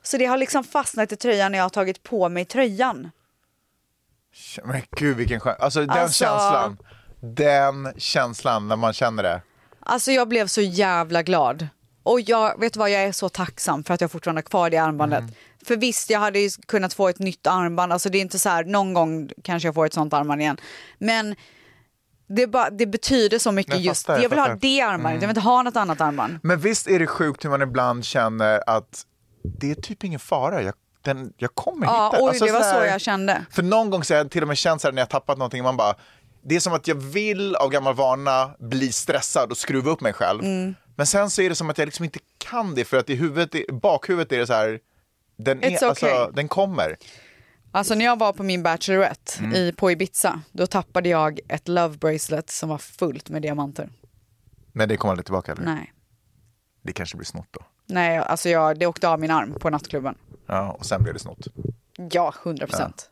[SPEAKER 4] Så det har liksom fastnat i tröjan när jag har tagit på mig tröjan.
[SPEAKER 5] Men gud vilken skön... Alltså den
[SPEAKER 4] Alltså-
[SPEAKER 5] känslan. Den känslan när man känner det.
[SPEAKER 4] Alltså jag blev så jävla glad. Och jag, vet du vad, jag är så tacksam för att jag fortfarande har kvar det armbandet.
[SPEAKER 5] Mm.
[SPEAKER 4] För visst, jag hade ju kunnat få ett nytt armband. Alltså det är inte så här, någon gång kanske jag får ett sånt armband igen. Men det, är bara, det betyder så mycket
[SPEAKER 5] Jag
[SPEAKER 4] just,
[SPEAKER 5] fattar, jag
[SPEAKER 4] jag vill ha
[SPEAKER 5] fattar.
[SPEAKER 4] det armbandet,
[SPEAKER 5] Mm.
[SPEAKER 4] jag vill inte ha något annat armband.
[SPEAKER 5] Men visst är det sjukt hur man ibland känner att det är typ ingen fara. Jag, den, jag kommer
[SPEAKER 4] Ja,
[SPEAKER 5] hitta
[SPEAKER 4] oj, det var
[SPEAKER 5] här-
[SPEAKER 4] så jag kände.
[SPEAKER 5] För någon gång så har jag till och med känt så här när jag tappat någonting, man bara, det är som att jag vill av gammal vana bli stressad och skruva upp mig själv.
[SPEAKER 4] Mm.
[SPEAKER 5] Men sen så är det som att jag liksom inte kan det för att i huvudet, i bakhuvudet är det så här, den, är,
[SPEAKER 4] It's okay.
[SPEAKER 5] alltså, den kommer.
[SPEAKER 4] Alltså när jag var på min Bachelorette
[SPEAKER 5] Mm.
[SPEAKER 4] i, på Ibiza, då tappade jag ett love bracelet som var fullt med diamanter.
[SPEAKER 5] Men det kommer aldrig tillbaka eller?
[SPEAKER 4] Nej,
[SPEAKER 5] Det kanske blir snott då.
[SPEAKER 4] Nej alltså jag, det åkte av min arm på nattklubben.
[SPEAKER 5] Ja, och sen blev det snott.
[SPEAKER 4] Ja, 100 procent.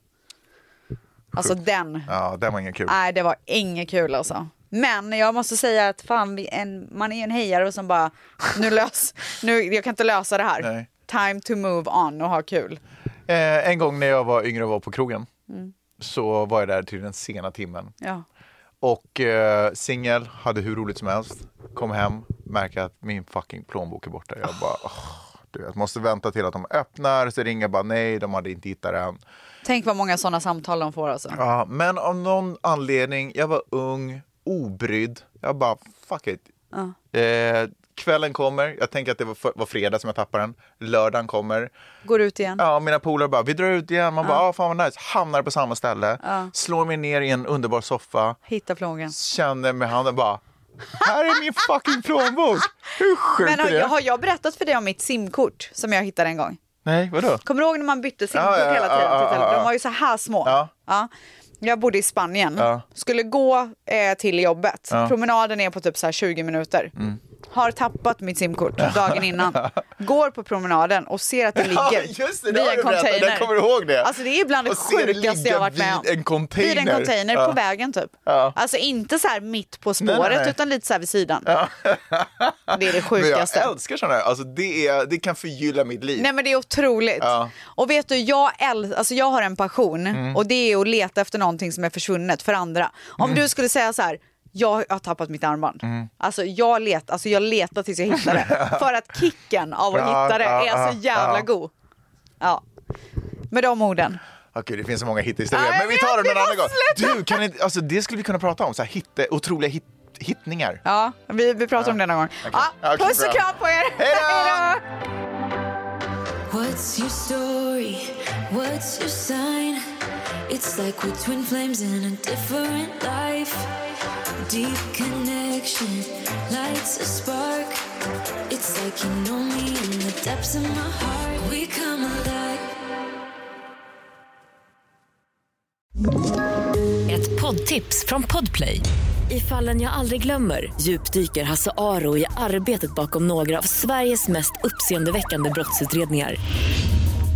[SPEAKER 4] Alltså den.
[SPEAKER 5] Ja, det var inget kul.
[SPEAKER 4] Nej, det var inget kul alltså. Men jag måste säga att fan, vi- en, man är ju en hejare som bara, nu lös, nu, jag kan inte lösa det här.
[SPEAKER 5] Nej.
[SPEAKER 4] Time to move on och ha kul.
[SPEAKER 5] Eh, en gång när jag var yngre och var på krogen
[SPEAKER 4] Mm.
[SPEAKER 5] så var jag där till den sena timmen.
[SPEAKER 4] Ja.
[SPEAKER 5] Och eh, singel, hade hur roligt som helst. Kom hem, märker att min fucking plånbok är borta. Jag
[SPEAKER 4] Oh.
[SPEAKER 5] bara, åh, du vet, måste vänta till att de öppnar. Så ringer jag bara, nej, de hade inte hittat den.
[SPEAKER 4] Tänk vad många sådana samtal de får alltså.
[SPEAKER 5] Ja, men av någon anledning, jag var ung, obrydd. Jag bara, fuck it.
[SPEAKER 4] Ja.
[SPEAKER 5] Eh, kvällen kommer, jag tänker att det var, för, var fredag som jag tappade den. Lördagen kommer.
[SPEAKER 4] Går ut igen.
[SPEAKER 5] Ja, mina polare bara, vi drar ut igen. Man bara, ah, fan vad nice. Hamnar på samma ställe.
[SPEAKER 4] Ja.
[SPEAKER 5] Slår mig ner i en underbar soffa.
[SPEAKER 4] Hitta plångan.
[SPEAKER 5] Känner med handen bara, här är min fucking plånbok. Hur sjukt
[SPEAKER 4] Men har,
[SPEAKER 5] är det?
[SPEAKER 4] jag- har jag berättat för dig om mitt simkort som jag hittade en gång?
[SPEAKER 5] Nej, vadå?
[SPEAKER 4] Kommer du ihåg när man bytte simkort
[SPEAKER 5] Alltså, Ja, ja,
[SPEAKER 4] hela tiden?
[SPEAKER 5] ja,
[SPEAKER 4] till
[SPEAKER 5] ja,
[SPEAKER 4] telefon?
[SPEAKER 5] ja.
[SPEAKER 4] De var ju så här små.
[SPEAKER 5] Ja.
[SPEAKER 4] Jag bodde i Spanien,
[SPEAKER 5] Ja.
[SPEAKER 4] skulle gå eh, till jobbet.
[SPEAKER 5] Ja.
[SPEAKER 4] Promenaden är på typ så här 20 minuter.
[SPEAKER 5] Mm.
[SPEAKER 4] har tappat mitt simkort dagen innan, går på promenaden och ser att det ligger
[SPEAKER 5] Ja, just det, det
[SPEAKER 4] vid
[SPEAKER 5] har
[SPEAKER 4] en
[SPEAKER 5] du berättat.
[SPEAKER 4] container.
[SPEAKER 5] Jag kommer ihåg det.
[SPEAKER 4] Alltså det är bland det
[SPEAKER 5] Och ser det
[SPEAKER 4] sjukaste jag har varit
[SPEAKER 5] ligga
[SPEAKER 4] med om.
[SPEAKER 5] vid en container.
[SPEAKER 4] Vid en container
[SPEAKER 5] Ja.
[SPEAKER 4] på vägen typ.
[SPEAKER 5] Ja.
[SPEAKER 4] Alltså inte så här mitt på
[SPEAKER 5] Nej,
[SPEAKER 4] spåret
[SPEAKER 5] nej.
[SPEAKER 4] utan lite så här vid sidan. Det är det sjukaste.
[SPEAKER 5] Men jag älskar sådana här. Alltså, det, är, det kan förgylla mitt liv.
[SPEAKER 4] Nej men det är otroligt.
[SPEAKER 5] Ja.
[SPEAKER 4] Och vet du, jag, äl- alltså, jag har en passion
[SPEAKER 5] Mm.
[SPEAKER 4] och det är att leta efter någonting som är försvunnet för andra. Om
[SPEAKER 5] Mm.
[SPEAKER 4] du skulle säga så här, jag har tappat mitt armband. Alltså jag, let, alltså jag letar tills jag hittar det. För att kicken av att
[SPEAKER 5] Ja,
[SPEAKER 4] hitta det
[SPEAKER 5] ja,
[SPEAKER 4] är så
[SPEAKER 5] ja,
[SPEAKER 4] jävla
[SPEAKER 5] ja.
[SPEAKER 4] god. Ja. Med de orden.
[SPEAKER 5] Åh, gud, det finns så många hittehistorier.
[SPEAKER 4] Nej,
[SPEAKER 5] Men vi
[SPEAKER 4] jag
[SPEAKER 5] tar
[SPEAKER 4] vet,
[SPEAKER 5] dem en
[SPEAKER 4] vi
[SPEAKER 5] annan gång.
[SPEAKER 4] måste sluta.
[SPEAKER 5] Du, kan inte, alltså, det skulle vi kunna prata om. Så här, hitte, otroliga hit, hittningar.
[SPEAKER 4] Ja, vi, vi pratar om det någon gång. Ja,
[SPEAKER 5] Okej,
[SPEAKER 4] puss
[SPEAKER 5] bra.
[SPEAKER 4] och kram på er!
[SPEAKER 5] Hej
[SPEAKER 4] Hej då!
[SPEAKER 6] What's your story? What's your sign? It's like we're twin flames in a different life. Deep connection lights a spark. It's like you know me in the depths of my heart. We come alive.
[SPEAKER 12] Ett poddtips från Podplay. I fallen jag aldrig glömmer djupdyker Hasse Aro i arbetet bakom några av Sveriges mest uppseendeväckande brottsutredningar.